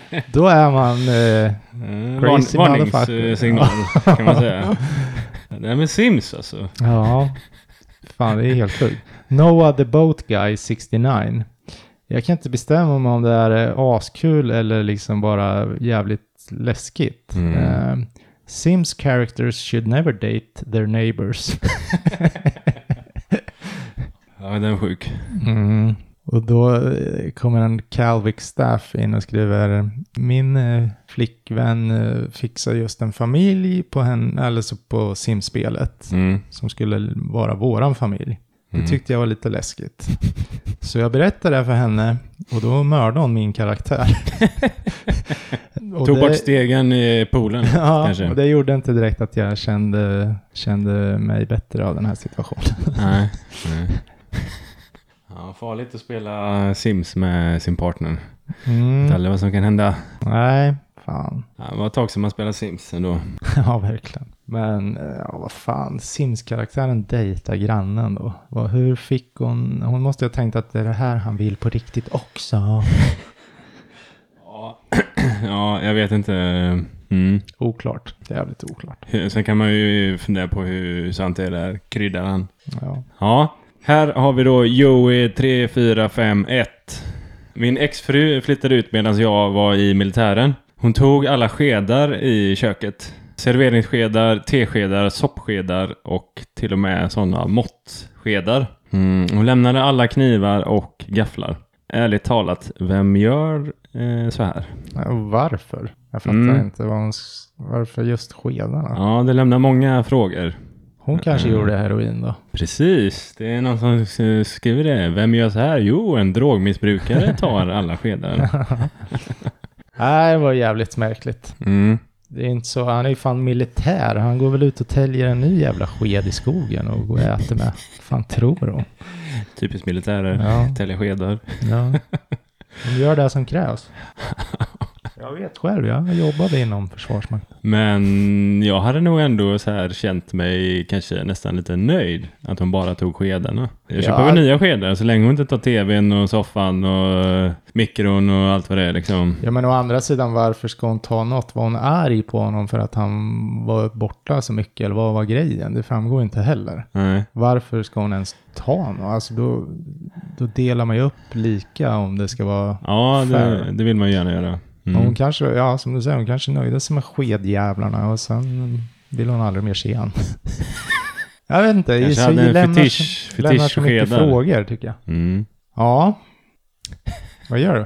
Speaker 2: aj.
Speaker 1: Då är man... Eh,
Speaker 2: Eh,
Speaker 1: Crazy
Speaker 2: varn-
Speaker 1: motherfucker.
Speaker 2: Varningssignal kan
Speaker 1: [LAUGHS]
Speaker 2: man säga. Nej men Sims alltså.
Speaker 1: Ja, fan det är helt sjukt. Noah the Boat Guy 69. Jag kan inte bestämma mig om det här är askul eller liksom bara jävligt läskigt.
Speaker 2: Mm.
Speaker 1: Eh, Sims characters should never date their neighbors.
Speaker 2: Ja, den är sjuk.
Speaker 1: [LAUGHS] Mm. Och då eh, kommer en Calvic Staff in och skriver Min eh, flickvän eh, fixar just en familj på, henne, eller så på Sims-spelet.
Speaker 2: Mm.
Speaker 1: som skulle vara våran familj.
Speaker 2: Mm.
Speaker 1: Det tyckte jag var lite läskigt. Så jag berättade det för henne och då mördade hon min
Speaker 2: [LAUGHS]
Speaker 1: karaktär. Och
Speaker 2: Tog
Speaker 1: det-
Speaker 2: bort stegen i poolen
Speaker 1: [LAUGHS] Ja,
Speaker 2: kanske.
Speaker 1: och det gjorde inte direkt att jag kände, kände mig bättre av den här situationen.
Speaker 2: Nej. [LAUGHS] nej. Ja, farligt att spela Sims med sin partner.
Speaker 1: [LAUGHS]
Speaker 2: Vet
Speaker 1: Mm.
Speaker 2: aldrig vad som kan hända.
Speaker 1: Nej, fan. [LAUGHS]
Speaker 2: Ja, det var ett tag sedan man spelade Sims ändå.
Speaker 1: Ja, verkligen. Men eh, ja, vad fan, Sims-karaktären dejtar grannen då. Vad- Hur fick hon? Hon måste ju ha tänkt att det är det här han vill på riktigt
Speaker 2: [LAUGHS]
Speaker 1: också.
Speaker 2: Ja, [CLEARS THROAT] ja jag vet inte. Mm.
Speaker 1: Oklart. Jävligt oklart.
Speaker 2: Hur- Sen kan man ju fundera på hur sant det är där. Kryddar han?
Speaker 1: Ja.
Speaker 2: Ja, här har vi då Joey3451. Min exfru flyttade ut medan jag var i militären. Hon tog alla skedar i köket. Serveringsskedar, teskedar, soppskedar och till och med sådana måttskedar. Mm, hon lämnade alla knivar och gafflar. Ärligt talat, vem gör eh, så här?
Speaker 1: Ja, och Varför? Jag fattar
Speaker 2: Mm.
Speaker 1: inte vad hon, s- varför just skedarna.
Speaker 2: Ja, det lämnar många frågor.
Speaker 1: Hon kanske
Speaker 2: Mm.
Speaker 1: gjorde heroin då.
Speaker 2: Precis, det är någon som s- skriver det. Vem gör så här? Jo, en drogmissbrukare tar alla skedar.
Speaker 1: Nej, det var jävligt märkligt.
Speaker 2: Mm.
Speaker 1: Det är inte så, han är ju fan militär. Han går väl ut och täljer en ny jävla sked i skogen och går och äter med. fan tror hon?
Speaker 2: Typiskt militärer.
Speaker 1: Ja.
Speaker 2: Tälja skedar.
Speaker 1: [LAUGHS] Ja. De gör det som krävs. Jag vet själv, jag jobbade inom Försvarsmakten.
Speaker 2: Men jag hade nog ändå så här känt mig kanske nästan lite nöjd att hon bara tog skedarna. Jag
Speaker 1: Ja.
Speaker 2: köper väl nya skedar så länge hon inte tar tvn och soffan och eh, mikron och allt vad det är liksom.
Speaker 1: Ja men å andra sidan, varför ska hon ta något? Var hon arg på honom för att han var borta så mycket? Eller vad var grejen? Det framgår inte heller.
Speaker 2: Nej.
Speaker 1: Varför ska hon ens ta något? Alltså då, då delar man ju upp lika om det ska vara...
Speaker 2: Ja, det,
Speaker 1: Fair.
Speaker 2: det vill man ju gärna göra.
Speaker 1: Hon
Speaker 2: Mm.
Speaker 1: kanske, ja som du säger, hon kanske nöjde sig med skedjävlarna och sen vill hon aldrig mer se
Speaker 2: [LAUGHS]
Speaker 1: han. jag vet inte,
Speaker 2: Kanske
Speaker 1: så
Speaker 2: hade en
Speaker 1: lämnar,
Speaker 2: fetisch,
Speaker 1: så, lämnar så mycket
Speaker 2: fetischskedar.
Speaker 1: frågor tycker jag.
Speaker 2: Mm.
Speaker 1: Ja. Vad gör du?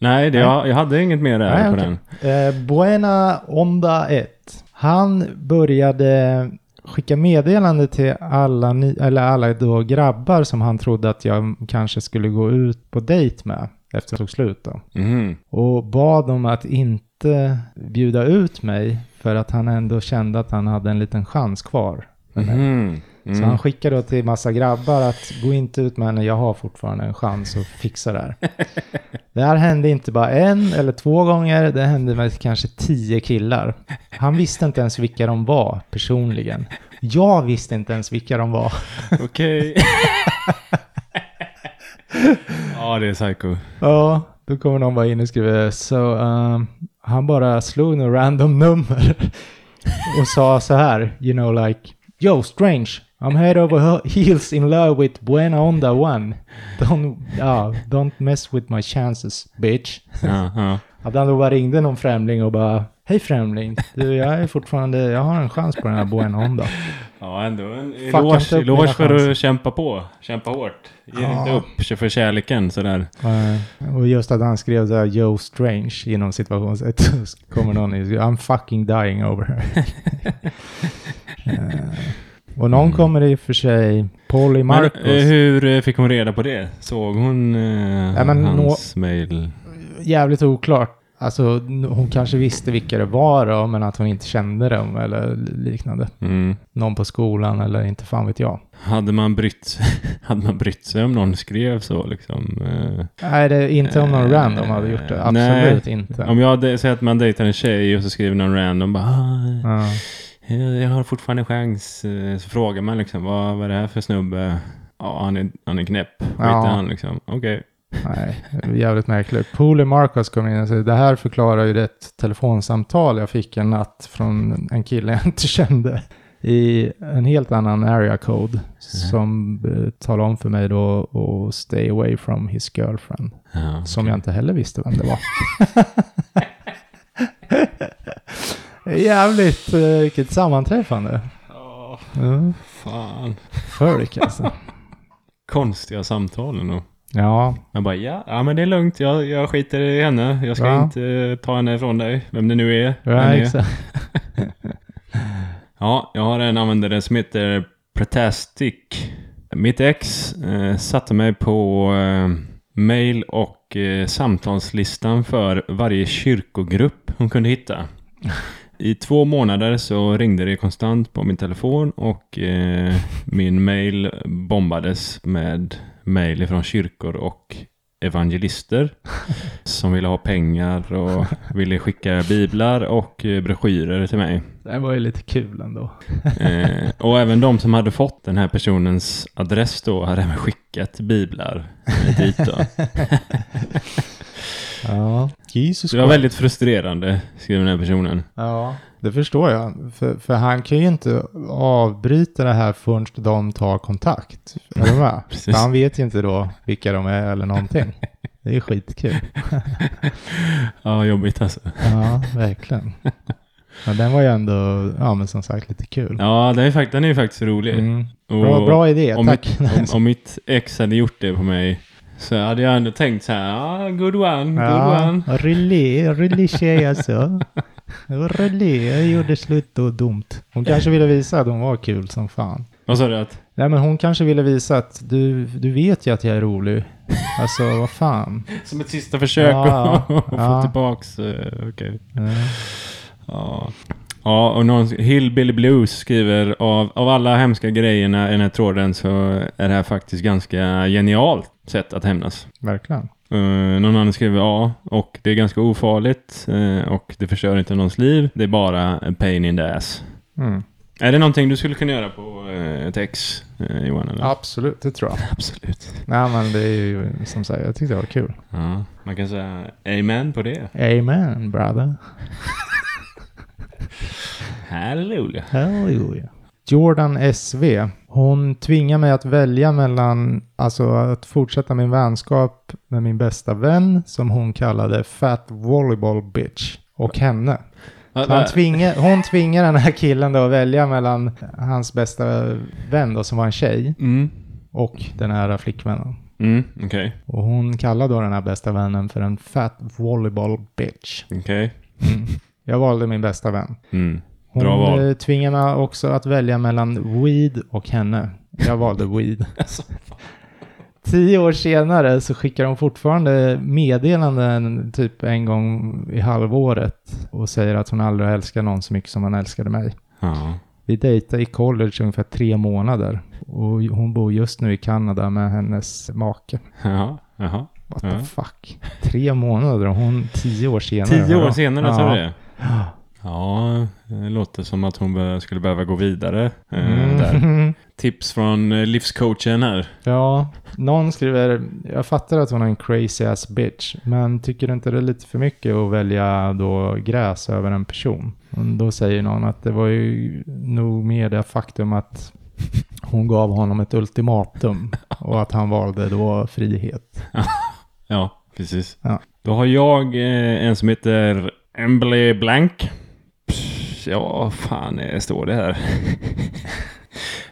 Speaker 2: Nej, det,
Speaker 1: Nej.
Speaker 2: Jag, jag hade inget mer där
Speaker 1: Nej,
Speaker 2: på
Speaker 1: okej.
Speaker 2: den.
Speaker 1: Eh, Buena Onda 1. Han började skicka meddelande till alla, ni- eller alla då grabbar som han trodde att jag kanske skulle gå ut på dejt med efter att det tog slut då.
Speaker 2: Mhm.
Speaker 1: Och bad dem att inte bjuda ut mig för att han ändå kände att han hade en liten chans kvar.
Speaker 2: Mhm.
Speaker 1: Så
Speaker 2: Mm.
Speaker 1: han skickade då till massa grabbar att gå inte ut med henne, jag har fortfarande en chans att fixa det här. Det här hände inte bara en eller två gånger, det hände med kanske tio killar. Han visste inte ens vilka de var personligen. Jag visste inte ens vilka de var.
Speaker 2: Okej.
Speaker 1: [LAUGHS]
Speaker 2: ja, det är psycho.
Speaker 1: Ja, då kommer någon bara in och skriver så um, han bara slog några random nummer [LAUGHS] och sa så här, you know like Yo strange, I'm head over heels in love with Buena Onda One. Don't, ja, don't mess with my chances bitch.
Speaker 2: Ja, ja.
Speaker 1: Att han då bara ringde någon främling och bara Hej främling, du jag är fortfarande, jag har en chans på den här Buena Onda.
Speaker 2: Ja, ändå en
Speaker 1: Fucka inte
Speaker 2: eloge,
Speaker 1: upp mina
Speaker 2: eloge för
Speaker 1: chanser.
Speaker 2: att kämpa på. Kämpa hårt. Ge
Speaker 1: Ja.
Speaker 2: inte upp för kärleken sådär.
Speaker 1: Eh, och just att han skrev så här Yo Strange inom situationstecken. [LAUGHS] Så kommer någon in och skriver, I'm fucking dying
Speaker 2: [LAUGHS]
Speaker 1: over her. Eh, och någon kommer i och för sig Polly
Speaker 2: Mm. Men, eh,
Speaker 1: Marcus.
Speaker 2: hur eh, fick hon reda på det? Såg hon eh,
Speaker 1: Ja, men
Speaker 2: hans mail?
Speaker 1: Jävligt oklart. Alltså, n- hon kanske visste vilka det var då, men att hon inte kände dem eller liknande.
Speaker 2: Mm.
Speaker 1: Någon på skolan eller inte fan vet jag.
Speaker 2: Hade, man brytt, sig- [LAUGHS] hade man brytt sig om någon skrev så liksom? Eh,
Speaker 1: Nej, det är inte om någon
Speaker 2: Eh,
Speaker 1: random hade gjort det.
Speaker 2: nej.
Speaker 1: Absolut inte.
Speaker 2: Om jag hade- säger att man dejtar en tjej och så skriver någon random bara ah,
Speaker 1: Ja.
Speaker 2: eh, Jag har fortfarande en chans. Eh, Så frågar man liksom vad, vad är det här för snubbe? Ja, han är, han är knäpp. Skit
Speaker 1: Ja.
Speaker 2: ja. han liksom. Okej.
Speaker 1: Nej, jävligt märkligt. Pooley Marcus kom in och sa, det här förklarar ju det telefonsamtal jag fick en natt från en kille jag inte kände i en helt annan area code som eh, talade om för mig då och stay away from his girlfriend.
Speaker 2: Ja.
Speaker 1: Som jag inte heller visste vem [LAUGHS] det var. Jävligt, eh, vilket sammanträffande.
Speaker 2: Ja,
Speaker 1: Mm.
Speaker 2: fan.
Speaker 1: Folk alltså.
Speaker 2: Konstiga samtal ändå.
Speaker 1: Ja,
Speaker 2: Jag bara ja, ja men det är lugnt. Jag, jag skiter i henne. Jag ska
Speaker 1: Ja.
Speaker 2: inte eh, ta henne ifrån dig. Vem det nu är. Vem
Speaker 1: ja
Speaker 2: det är.
Speaker 1: exakt.
Speaker 2: Ja, jag har en användare som heter Pretastic. Mitt ex eh, satte mig på eh, mail och eh, samtalslistan för varje kyrkogrupp hon kunde hitta. I två månader så ringde det konstant på min telefon och eh, min mail bombades med mail från kyrkor och evangelister som ville ha pengar och ville skicka biblar och eh, broschyrer till mig.
Speaker 1: Det här var ju lite kul ändå.
Speaker 2: Eh, och även de som hade fått den här personens adress då hade även skickat biblar eh, dit då.
Speaker 1: Ja. Jesus
Speaker 2: Så det var väldigt frustrerande, skrev den här personen.
Speaker 1: Ja, det förstår jag. För, för han kan ju inte avbryta det här förrän de tar kontakt. Är du med? För
Speaker 2: [LAUGHS] Precis.
Speaker 1: han vet ju inte då vilka de är eller någonting. Det är
Speaker 2: [LAUGHS]
Speaker 1: skitkul.
Speaker 2: Ja, jobbigt alltså.
Speaker 1: Ja, verkligen. Men den var ju ändå, ja men som sagt lite kul.
Speaker 2: Ja, den är, fakt- den är ju faktiskt rolig.
Speaker 1: Mm.
Speaker 2: Och
Speaker 1: Bra, bra idé,
Speaker 2: om
Speaker 1: tack.
Speaker 2: Om, om mitt ex hade gjort det på mig så hade jag ändå tänkt så här, ah, good one,
Speaker 1: [LAUGHS]
Speaker 2: good
Speaker 1: Ja,
Speaker 2: one.
Speaker 1: Relé, relé tjej alltså. Relé, jag gjorde slut och dumt. Hon kanske ville visa att hon var kul som fan.
Speaker 2: Vad sa du? Att,
Speaker 1: Nej men hon kanske ville visa att du, du vet ju att jag är rolig. Alltså vad fan.
Speaker 2: som ett sista försök
Speaker 1: Ja,
Speaker 2: att att få
Speaker 1: ja.
Speaker 2: tillbaks. eh, okej.
Speaker 1: Eh,
Speaker 2: Ja. Ja, och någon, Hillbilly Blues skriver av, av alla hemska grejerna i den här tråden så är det här faktiskt ganska genialt sätt att hämnas.
Speaker 1: verkligen.
Speaker 2: Eh, någon annan skriver ja, och det är ganska ofarligt eh, och det förstör inte någons liv. Det är bara en pain in the ass.
Speaker 1: Mm.
Speaker 2: Är det någonting du skulle kunna göra på uh, ett ex, eh, Johan? Eller?
Speaker 1: Absolut, det tror jag.
Speaker 2: absolut.
Speaker 1: Nej men det är ju som sagt, jag tyckte det var kul.
Speaker 2: Ja, man kan säga amen på det.
Speaker 1: Amen brother.
Speaker 2: Halleluja.
Speaker 1: Hallelujah. Jordan SV. Hon tvingar mig att välja mellan alltså att fortsätta min vänskap med min bästa vän som hon kallade Fat Volleyball Bitch och henne.
Speaker 2: Va-
Speaker 1: Så Han
Speaker 2: va-
Speaker 1: tvingar, hon tvingar den här killen då att välja mellan hans bästa vän då som var en tjej
Speaker 2: Mm,
Speaker 1: och den här flickvännen.
Speaker 2: mm okej.
Speaker 1: Och hon kallar då den här bästa vännen för en fat volleyball bitch. Mm.
Speaker 2: Okej.
Speaker 1: Jag valde min bästa vän.
Speaker 2: Mm.
Speaker 1: Hon
Speaker 2: Bra val.
Speaker 1: eh, tvingar mig också att välja mellan weed och henne. Jag valde
Speaker 2: [LAUGHS]
Speaker 1: weed.
Speaker 2: Alltså,
Speaker 1: Tio år senare så skickar hon fortfarande meddelanden typ en gång i halvåret och säger att hon aldrig har älskat någon så mycket som han älskade mig.
Speaker 2: Ja. [LAUGHS]
Speaker 1: Vi dejtade i college ungefär tre månader och hon bor just nu i Kanada med hennes make.
Speaker 2: Jaha, jaha.
Speaker 1: What
Speaker 2: Ja.
Speaker 1: the fuck? Tre månader och hon tio år senare.
Speaker 2: Tio år
Speaker 1: hörru.
Speaker 2: senare,
Speaker 1: ja.
Speaker 2: tror du det? Ja, det låter som att hon be- skulle behöva gå vidare. eh, Där.
Speaker 1: Mm.
Speaker 2: Tips från eh, livscoachen här.
Speaker 1: [LAUGHS] Ja, någon skriver, jag fattar att hon är en crazy ass bitch, men tycker du inte det är lite för mycket att välja då gräs över en person? Och då säger någon att det var ju nog mer det faktum att hon gav honom ett ultimatum och att han valde då frihet.
Speaker 2: Ja, precis.
Speaker 1: Ja.
Speaker 2: Då har jag eh, en som heter Emily Blank. Pff, Ja, vad fan eh, står det här? [LAUGHS]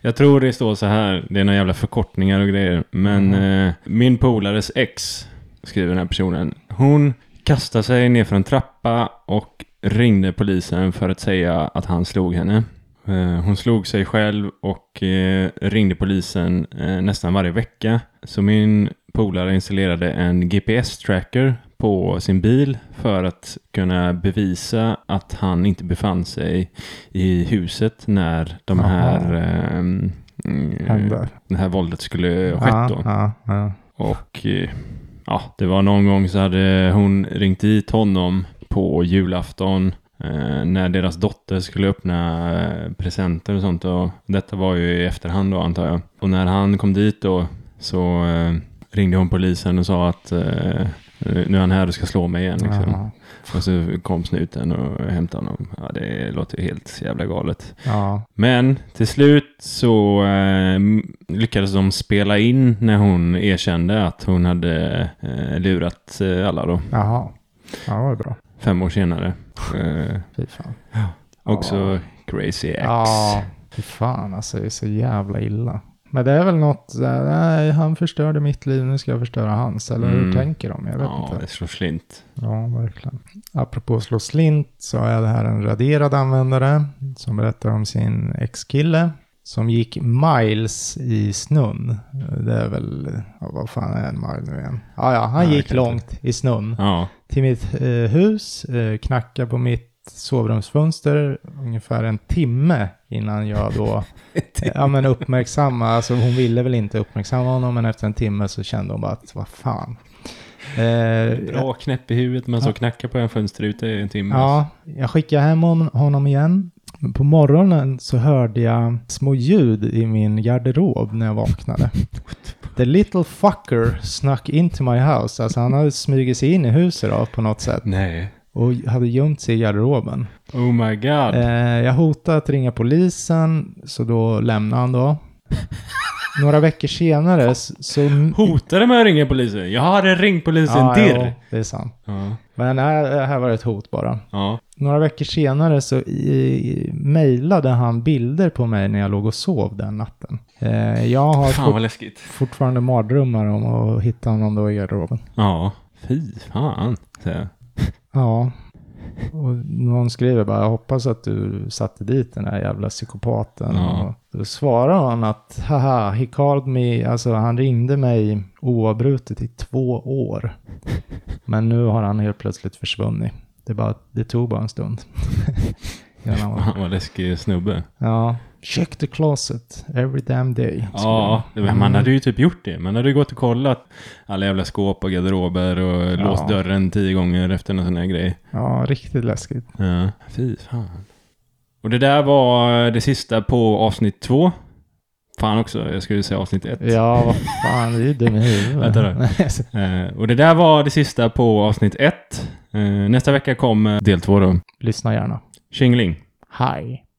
Speaker 2: Jag tror det står så här. Det är några jävla förkortningar och grejer. Men eh, min polares ex, skriver den här personen. Hon kastade sig ner för en trappa och ringde polisen för att säga att han slog henne. Eh, Hon slog sig själv och eh, ringde polisen eh, nästan varje vecka. Så min polare installerade en GPS-tracker på sin bil för att kunna bevisa att han inte befann sig i huset när de
Speaker 1: Aha.
Speaker 2: här, eh, mm,
Speaker 1: Hände.
Speaker 2: det här våldet skulle ha skett. Då.
Speaker 1: Ja, ja, ja.
Speaker 2: Och eh, ja, det var någon gång så hade hon ringt dit honom på julafton eh, när deras dotter skulle öppna eh, presenter och sånt. Och detta var ju i efterhand då antar jag. Och när han kom dit då så eh, ringde hon polisen och sa att eh, nu är han här och ska slå mig igen. Liksom.
Speaker 1: Jaha.
Speaker 2: Och så kom snuten och hämtade honom. Ja, det låter ju helt jävla galet.
Speaker 1: Ja,
Speaker 2: Men till slut så eh, m- lyckades de spela in när hon erkände att hon hade eh, lurat eh, alla då,
Speaker 1: jaha. Ja, det var bra.
Speaker 2: fem år senare. Eh,
Speaker 1: Fy fan.
Speaker 2: också Crazy X.
Speaker 1: Ja, fy fan alltså. Det är så jävla illa. Men det är väl något, så här, nej han förstörde mitt liv, nu ska jag förstöra hans. Eller hur
Speaker 2: Mm.
Speaker 1: tänker de? Jag vet
Speaker 2: Ja,
Speaker 1: inte.
Speaker 2: det slår slint.
Speaker 1: Ja, verkligen. Apropå slå slint så är det här en raderad användare som berättar om sin ex-kille som gick miles i snön. Det är väl, ja, vad fan är en mile nu igen? Ja, ja, han
Speaker 2: Nej,
Speaker 1: gick
Speaker 2: jag kan inte.
Speaker 1: långt i snön
Speaker 2: Ja,
Speaker 1: till mitt eh, hus, eh, knackade på mitt sovrumsfönster ungefär en timme innan jag då ja, men uppmärksamma, alltså hon ville väl inte uppmärksamma honom men efter en timme så kände hon bara att vad fan. Eh,
Speaker 2: bra knäpp i huvudet men så knacka på en fönsterruta i en timme.
Speaker 1: Ja, jag skickade hem hon- honom igen. Men På morgonen så hörde jag små ljud i min garderob när jag vaknade. The little fucker snuck into my house. Alltså han hade smugit sig in i huset då, på något sätt.
Speaker 2: Nej.
Speaker 1: Och hade gömt sig i garderoben.
Speaker 2: Oh my god.
Speaker 1: Eh, jag hotade att ringa polisen, så då lämnade han då. Några veckor senare s- så...
Speaker 2: Hotade med att ringa polisen. Jag hade ringt polisen
Speaker 1: Ja,
Speaker 2: till.
Speaker 1: jo, det är sant.
Speaker 2: Ja.
Speaker 1: Men nej, det här var ett hot bara.
Speaker 2: ja.
Speaker 1: Några veckor senare så i- mejlade han bilder på mig när jag låg och sov den natten. Eh, jag har
Speaker 2: Fan
Speaker 1: fort,
Speaker 2: vad läskigt.
Speaker 1: fortfarande mardrömmar om att hitta honom då i garderoben.
Speaker 2: Ja. Fy fan. Så. här.
Speaker 1: Ja. Och någon skriver bara, jag hoppas att du satte dit den här jävla psykopaten.
Speaker 2: Ja.
Speaker 1: Och då svarar han att, haha, he called me, alltså han ringde mig oavbrutet i två år. Men nu har han helt plötsligt försvunnit. Det, är bara, det tog bara en
Speaker 2: [LAUGHS]
Speaker 1: stund. Innan han var
Speaker 2: Fan vad läskig snubbe.
Speaker 1: Ja. Check the closet every damn day.
Speaker 2: Ja, det- men man
Speaker 1: Mm.
Speaker 2: hade ju typ gjort det. Man hade ju gått och kollat alla jävla skåp och garderober och låst dörren tio gånger efter någon sån här grej.
Speaker 1: Ja, riktigt läskigt.
Speaker 2: Ja, fy fan. Och det där var eh, det sista på avsnitt två. Fan också, jag skulle säga avsnitt ett.
Speaker 1: Ja, vad fan, det är ju dum i huvudet.
Speaker 2: Vänta då. Eh, och det där var det sista på avsnitt ett. Eh, nästa vecka kommer del två då.
Speaker 1: [LAUGHS] Lyssna gärna.
Speaker 2: Tjingeling.
Speaker 1: Hej.